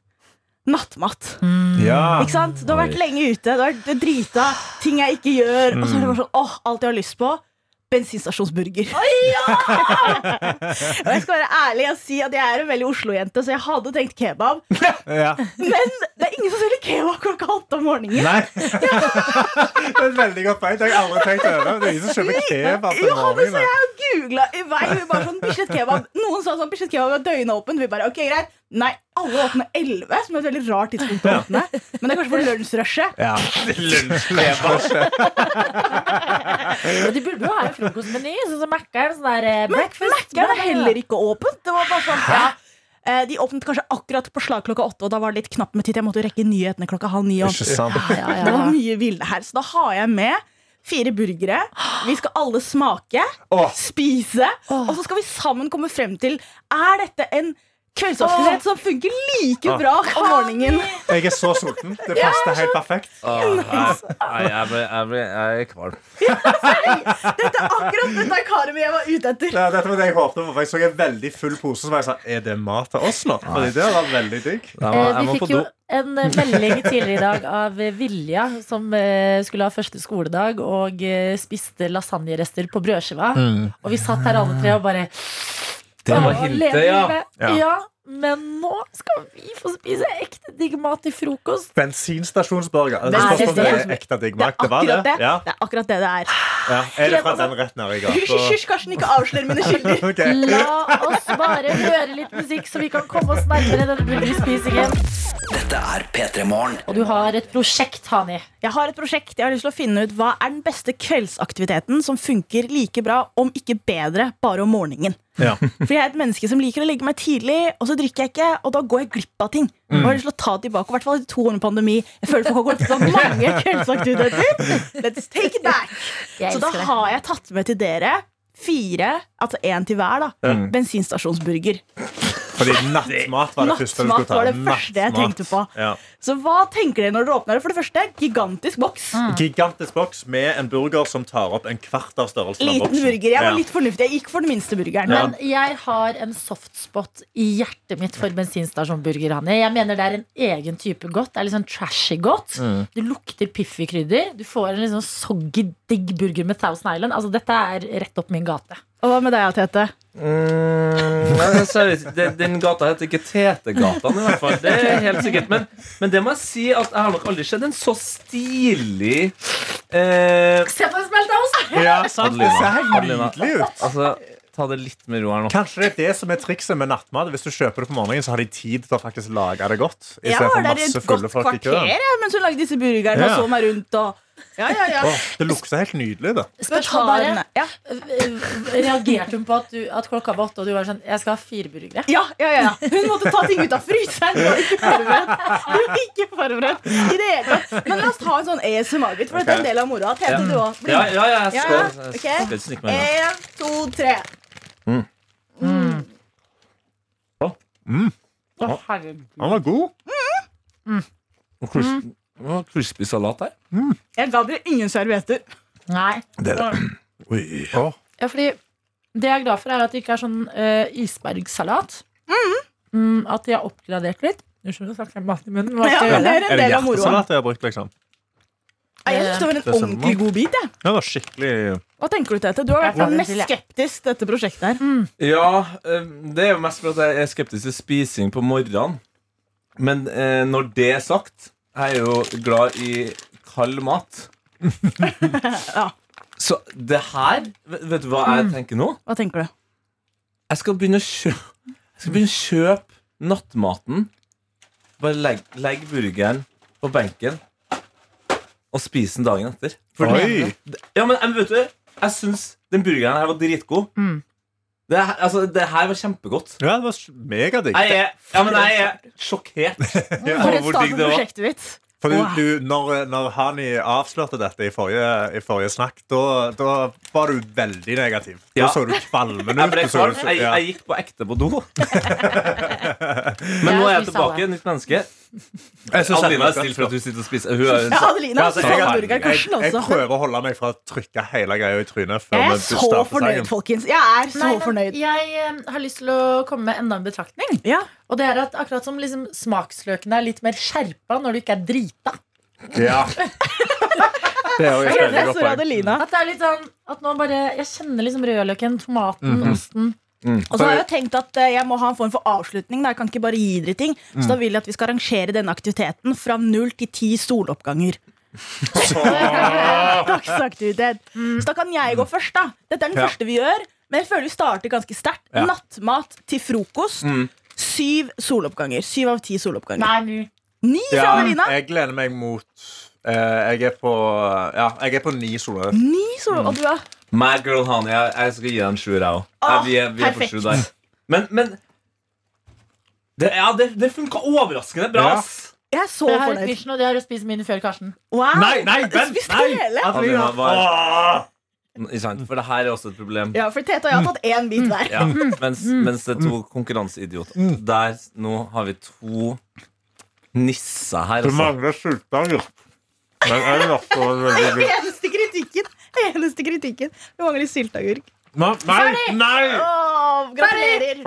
[SPEAKER 7] nattmat.
[SPEAKER 4] Ja.
[SPEAKER 7] Ikke sant? Du har vært lenge ute, du har vært drita, ting jeg ikke gjør. Og så
[SPEAKER 4] Mm.
[SPEAKER 7] er det bare sånn, åh, alt jeg har lyst på. Bensinstasjonsburger. og jeg skal være ærlig og si at jeg er en veldig Oslo-jente, så jeg hadde tenkt kebab.
[SPEAKER 4] ja.
[SPEAKER 7] Men det er ingen som selger kebab klokka åtte om morgenen.
[SPEAKER 4] Nei. det er et veldig godt poeng. Det har jeg aldri tenkt over. Det er ingen som kjøper kebab til
[SPEAKER 7] Johannes og
[SPEAKER 4] morgenen.
[SPEAKER 7] jeg googla i vei. Vi bare sånn, Bislett kebab. Noen sa sånn, Bislett kebab er døgnåpen. Vi bare, ok, greit. Nei, alle åpner elleve, som er et veldig rart tidspunkt å åpne. Men det er kanskje for lunsjrushet.
[SPEAKER 4] Ja.
[SPEAKER 2] Men De burde jo ha en frokostmeny, sånn som Mækkern. Sånn der eh, breakfast.
[SPEAKER 7] Mac-en er heller ikke åpent. Det var bare sånn, ja. Eh, De åpnet kanskje akkurat på slag klokka åtte, og da var det litt knapt med tid. Jeg måtte jo rekke nyhetene klokka halv ni. Og
[SPEAKER 4] Ikke sant.
[SPEAKER 2] Ja, ja,
[SPEAKER 7] det var
[SPEAKER 2] ja.
[SPEAKER 7] mye ville her. Så da har jeg med Fire burgere. Vi skal alle smake,
[SPEAKER 4] Åh.
[SPEAKER 7] spise, og så skal vi sammen komme frem til Er dette en kveldsaktivitet som funker like bra om morgenen.
[SPEAKER 4] Jeg er så sulten. Det passer helt perfekt.
[SPEAKER 3] Nei, jeg ble, jeg ble jeg er kvalm.
[SPEAKER 2] Eh,
[SPEAKER 7] Dette er akkurat dette er karet jeg var ute etter.
[SPEAKER 4] Ja, dette var det jeg håpte på. for Jeg så en veldig full pose, så var jeg sånn Er det mat til oss nå? Fordi det var veldig digg.
[SPEAKER 3] Jeg må,
[SPEAKER 2] Eh,
[SPEAKER 3] jeg
[SPEAKER 2] vi
[SPEAKER 3] må på
[SPEAKER 2] fikk jo
[SPEAKER 3] do.
[SPEAKER 2] en eh, melding tidligere i dag av eh, Vilja, som eh, skulle ha første skoledag og eh, spiste lasagnerester på brødskiva. Og vi satt her alle tre og bare
[SPEAKER 3] Mm. Det var
[SPEAKER 2] «Å,
[SPEAKER 3] hintet,
[SPEAKER 2] lever
[SPEAKER 3] ja.
[SPEAKER 2] livet».
[SPEAKER 4] Ja.
[SPEAKER 2] ja. Men nå skal vi få spise ekte digg mat til frokost.
[SPEAKER 4] Bensinstasjonsburger. Det
[SPEAKER 7] Nei,
[SPEAKER 4] spørs om det
[SPEAKER 7] det-
[SPEAKER 4] er ekte digg
[SPEAKER 7] Det er
[SPEAKER 4] mat. Det var det.
[SPEAKER 7] akkurat det.
[SPEAKER 4] Ja.
[SPEAKER 7] Det er akkurat det det er.
[SPEAKER 4] Ja. Er det fra den rett nede i
[SPEAKER 7] Hysj, hysj,
[SPEAKER 4] gata?
[SPEAKER 7] hysj, Karsten, ikke avslør mine kilder.
[SPEAKER 4] Ok.
[SPEAKER 2] La oss bare høre litt musikk, så vi kan komme oss nærmere denne burgerspisingen.
[SPEAKER 5] Dette er P3 Morgen.
[SPEAKER 2] Og du har et prosjekt, Hani.
[SPEAKER 7] Jeg har et prosjekt. Jeg har lyst til å finne ut Hva er den beste kveldsaktiviteten som funker like bra, om ikke bedre, bare om morgenen?
[SPEAKER 4] Ja.
[SPEAKER 7] For jeg er et menneske som liker å legge meg tidlig, og så drikker jeg ikke, og da går jeg glipp av ting. Og jeg har lyst til å ta det tilbake, i hvert fall i to år med pandemi. Jeg føler folk har gått glipp av mange kveldsaktiviteter. Let's take it back!
[SPEAKER 2] Jeg
[SPEAKER 7] Så da
[SPEAKER 2] elsker det.
[SPEAKER 7] har jeg tatt med til dere fire, altså én til hver, da,
[SPEAKER 2] Mm.
[SPEAKER 7] bensinstasjonsburger.
[SPEAKER 4] Fordi nattmat var det første du skulle
[SPEAKER 7] Nattmat
[SPEAKER 4] ta.
[SPEAKER 7] var det første jeg
[SPEAKER 4] Nattmat.
[SPEAKER 7] tenkte på.
[SPEAKER 4] Ja.
[SPEAKER 7] Så hva tenker dere når dere åpner det? For det første, gigantisk boks.
[SPEAKER 4] Gigantisk boks med en burger som tar opp en kvart av størrelsen av
[SPEAKER 7] Liten
[SPEAKER 4] boksen.
[SPEAKER 7] burger. Jeg var
[SPEAKER 4] Ja.
[SPEAKER 7] litt fornuftig. Jeg gikk for den minste burgeren.
[SPEAKER 4] Ja.
[SPEAKER 2] Men jeg har en softspot i hjertet mitt for bensinstasjonburger. Hanne. Jeg mener det er en egen type godt. Det er litt sånn trashy godt. Du lukter piffikrydder. Du får en litt sånn soggy digg burger med Thousand Island. Altså, dette er rett opp min gate.
[SPEAKER 7] Og hva med deg, Tete?
[SPEAKER 3] Mm, nei, men seriøst, den, den gata heter ikke Tetegatan, i hvert fall. Det er helt sikkert. Men, men det må jeg si at jeg har nok aldri sett en så stilig eh,
[SPEAKER 2] Se på den smelta ost!
[SPEAKER 4] Ja,
[SPEAKER 7] altså.
[SPEAKER 4] sant. Det ser helt
[SPEAKER 3] Adelina.
[SPEAKER 4] nydelig ut.
[SPEAKER 3] Altså, ta det litt med ro her nå.
[SPEAKER 4] Kanskje det er det som er trikset med nattmat. Hvis du kjøper det på morgenen, så har de tid til å faktisk lage det godt. I
[SPEAKER 7] Jeg
[SPEAKER 4] stedet
[SPEAKER 7] var
[SPEAKER 4] for
[SPEAKER 7] der i
[SPEAKER 4] masse
[SPEAKER 7] et godt
[SPEAKER 4] fulle folk i
[SPEAKER 7] kvarter
[SPEAKER 4] køen.
[SPEAKER 7] jeg, mens hun lagde disse burgerne
[SPEAKER 4] Ja.
[SPEAKER 7] og så meg rundt. Og ja, ja, ja.
[SPEAKER 4] Åh, det lukter helt nydelig, det.
[SPEAKER 2] Spørsmålet
[SPEAKER 7] Tarene. Ja,
[SPEAKER 2] Reagerte hun på at, du, at klokka var åtte, og du var sånn Jeg skal ha fire burgere.
[SPEAKER 7] ja, ja, ja. Hun måtte ta ting ut av fryseren. Hun var ikke forberedt. Hun var ikke forberedt i det hele tatt. Men la oss ta en sånn ASMR-bit, for dette er en del av moroa. Tete, du òg. Bli
[SPEAKER 3] Ja,
[SPEAKER 7] med.
[SPEAKER 3] ja, ja, jeg skal,
[SPEAKER 7] Ja,
[SPEAKER 3] jeg
[SPEAKER 7] ok.
[SPEAKER 3] skal ikke snikke meg unna.
[SPEAKER 7] En, to, tre.
[SPEAKER 2] Å, herregud.
[SPEAKER 4] Han var god.
[SPEAKER 7] Mm.
[SPEAKER 3] Og krus- og Crispy salat her.
[SPEAKER 7] Jeg ga dere ingen servietter.
[SPEAKER 2] Nei.
[SPEAKER 4] Oi.
[SPEAKER 2] Ja, fordi det jeg er glad for, er at det ikke er sånn eh, isbergsalat. Mm, at de har oppgradert litt. Unnskyld, nå snakker jeg mat i munnen. Hva
[SPEAKER 7] Ja,
[SPEAKER 2] skal jeg
[SPEAKER 7] men
[SPEAKER 2] gjøre?
[SPEAKER 4] Er
[SPEAKER 7] det er en
[SPEAKER 4] det
[SPEAKER 7] del av moroa.
[SPEAKER 4] hjertesalat jeg har brukt, liksom?
[SPEAKER 7] Nei, Jeg synes det var en
[SPEAKER 4] Det er sånn
[SPEAKER 7] ordentlig
[SPEAKER 4] sømmer.
[SPEAKER 7] god bit. Jeg.
[SPEAKER 4] Det var skikkelig
[SPEAKER 7] Hva tenker du, Tete? Du har vært
[SPEAKER 2] Jeg tar
[SPEAKER 7] den
[SPEAKER 2] den
[SPEAKER 7] mest
[SPEAKER 2] til, jeg.
[SPEAKER 7] skeptisk til dette prosjektet her.
[SPEAKER 3] Ja, eh, det er jo mest fordi jeg er skeptisk til spising på morgenen. Men eh, når det er sagt, jeg er jo glad i kald mat.
[SPEAKER 7] Ja.
[SPEAKER 3] Så det her Vet vet du hva jeg tenker nå?
[SPEAKER 7] Hva tenker du?
[SPEAKER 3] Jeg skal begynne å kjøpe Jeg skal begynne å kjøpe nattmaten. Bare legg, legg burgeren på benken og spis den dagen etter. For
[SPEAKER 4] Oi!
[SPEAKER 3] Ja, men men vet du, jeg syns den burgeren her var dritgod.
[SPEAKER 2] Mm.
[SPEAKER 3] Det, her- altså, det her var kjempegodt.
[SPEAKER 4] Ja, det var megadigg.
[SPEAKER 3] Jeg er, ja, men jeg er sjokkert.
[SPEAKER 7] For en
[SPEAKER 3] hvor
[SPEAKER 7] start
[SPEAKER 3] digg
[SPEAKER 7] på
[SPEAKER 3] det var.
[SPEAKER 7] prosjektet mitt.
[SPEAKER 4] For du, du, når, når Hani avslørte dette i forrige, i forrige snakk, da, da var du veldig negativ. Da
[SPEAKER 3] Ja.
[SPEAKER 4] så du kvalmen
[SPEAKER 3] Jeg
[SPEAKER 4] ut.
[SPEAKER 3] ble
[SPEAKER 4] du så-
[SPEAKER 3] kvalm. Jeg,
[SPEAKER 4] ja.
[SPEAKER 3] jeg gikk på ekte på do. Men nå er jeg tilbake. Nytt menneske.
[SPEAKER 4] Jeg synes
[SPEAKER 3] Adelina er
[SPEAKER 4] det er
[SPEAKER 3] stille for at hun sitter og spiser. Hun er,
[SPEAKER 7] Ja, Adelina
[SPEAKER 4] Altså,
[SPEAKER 7] også
[SPEAKER 4] jeg,
[SPEAKER 7] tatt
[SPEAKER 4] jeg,
[SPEAKER 7] burger.
[SPEAKER 4] jeg,
[SPEAKER 7] Karsten
[SPEAKER 4] jeg
[SPEAKER 7] også.
[SPEAKER 4] prøver å holde meg fra å trykke hele greia i trynet. Før
[SPEAKER 7] Jeg
[SPEAKER 4] vi
[SPEAKER 7] er så
[SPEAKER 4] starter
[SPEAKER 7] fornøyd,
[SPEAKER 4] sangen.
[SPEAKER 7] folkens. Jeg er så
[SPEAKER 2] Nei, men
[SPEAKER 7] fornøyd.
[SPEAKER 2] jeg eh, har lyst til å komme med enda en betraktning.
[SPEAKER 7] Ja.
[SPEAKER 2] Og det er at akkurat som liksom, smaksløkene er litt mer skjerpa når du ikke er drita.
[SPEAKER 4] Ja. Det er jo et veldig godt
[SPEAKER 7] Professor
[SPEAKER 4] poeng.
[SPEAKER 7] Adelina.
[SPEAKER 2] At det er litt sånn at nå bare Jeg kjenner liksom rødløken, tomaten, osten.
[SPEAKER 7] Og så har jeg tenkt at eh, jeg må ha en form for avslutning. Da. Jeg kan ikke bare gi dere ting. Så da vil jeg at vi skal arrangere denne aktiviteten fra null til ti soloppganger. Dagsaktivitet. Så da kan jeg gå først, da. Dette er den
[SPEAKER 4] Ja.
[SPEAKER 7] første vi gjør. Men jeg føler vi starter ganske sterkt. Nattmat til frokost. Syv soloppganger. Syv av ti soloppganger.
[SPEAKER 2] Nei, nu.
[SPEAKER 7] Ni fra Adelina.
[SPEAKER 4] jeg gleder meg mot eh, jeg, er på, ja, jeg er på ni soler.
[SPEAKER 7] Ni solo... Og du, ja.
[SPEAKER 3] My girl Hani, jeg, jeg skal gi deg en sjuer, jeg òg.
[SPEAKER 7] Ah,
[SPEAKER 3] Vi er, vi er på
[SPEAKER 7] perfekt.
[SPEAKER 3] sju der. Men, men det, ja, det, det funka overraskende bra.
[SPEAKER 4] Ja.
[SPEAKER 3] ass.
[SPEAKER 7] Jeg er så
[SPEAKER 2] For jeg har et
[SPEAKER 7] fornøyd.
[SPEAKER 2] vision, og det er å spise min før Karsten.
[SPEAKER 7] Wow.
[SPEAKER 8] Nei, nei, vent!
[SPEAKER 7] Spiste
[SPEAKER 8] Nei!
[SPEAKER 7] hele.
[SPEAKER 3] Adelina var-
[SPEAKER 8] Åh!
[SPEAKER 3] Ikke sant? For det her er også et problem.
[SPEAKER 7] Ja, for Tete og jeg har tatt én bit hver.
[SPEAKER 3] Ja. Mens,
[SPEAKER 7] Mm.
[SPEAKER 3] mens det er to konkurranseidioter. Der nå har vi to nisser her. Altså.
[SPEAKER 4] mangler sultang, jo. Men jeg vil også
[SPEAKER 7] Det er Eneste kritikken. Eneste kritikken. Vi mangler sylteagurk.
[SPEAKER 8] Nei! nei.
[SPEAKER 7] Åh, Gratulerer.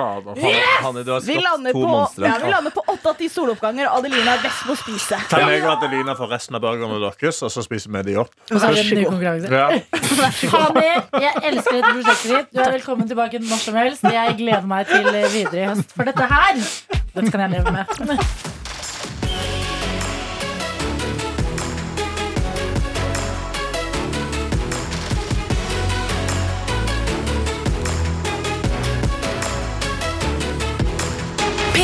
[SPEAKER 3] Hanne, du har
[SPEAKER 7] Vi lander,
[SPEAKER 3] skapt to
[SPEAKER 7] på,
[SPEAKER 3] monstre.
[SPEAKER 7] ja, vi lander på åtte av ti soloppganger. Adeline er best på å spise.
[SPEAKER 4] Kan jeg og Adelina få resten av burgerne deres, og så spiser vi de opp?
[SPEAKER 2] Og så er det en ny konkurranse.
[SPEAKER 4] Ja.
[SPEAKER 2] Hani, jeg elsker dette prosjektet ditt. Du er velkommen tilbake når som helst. Jeg gleder meg til videre i høst. For dette her, dette kan jeg leve med.
[SPEAKER 1] P3 Morgen.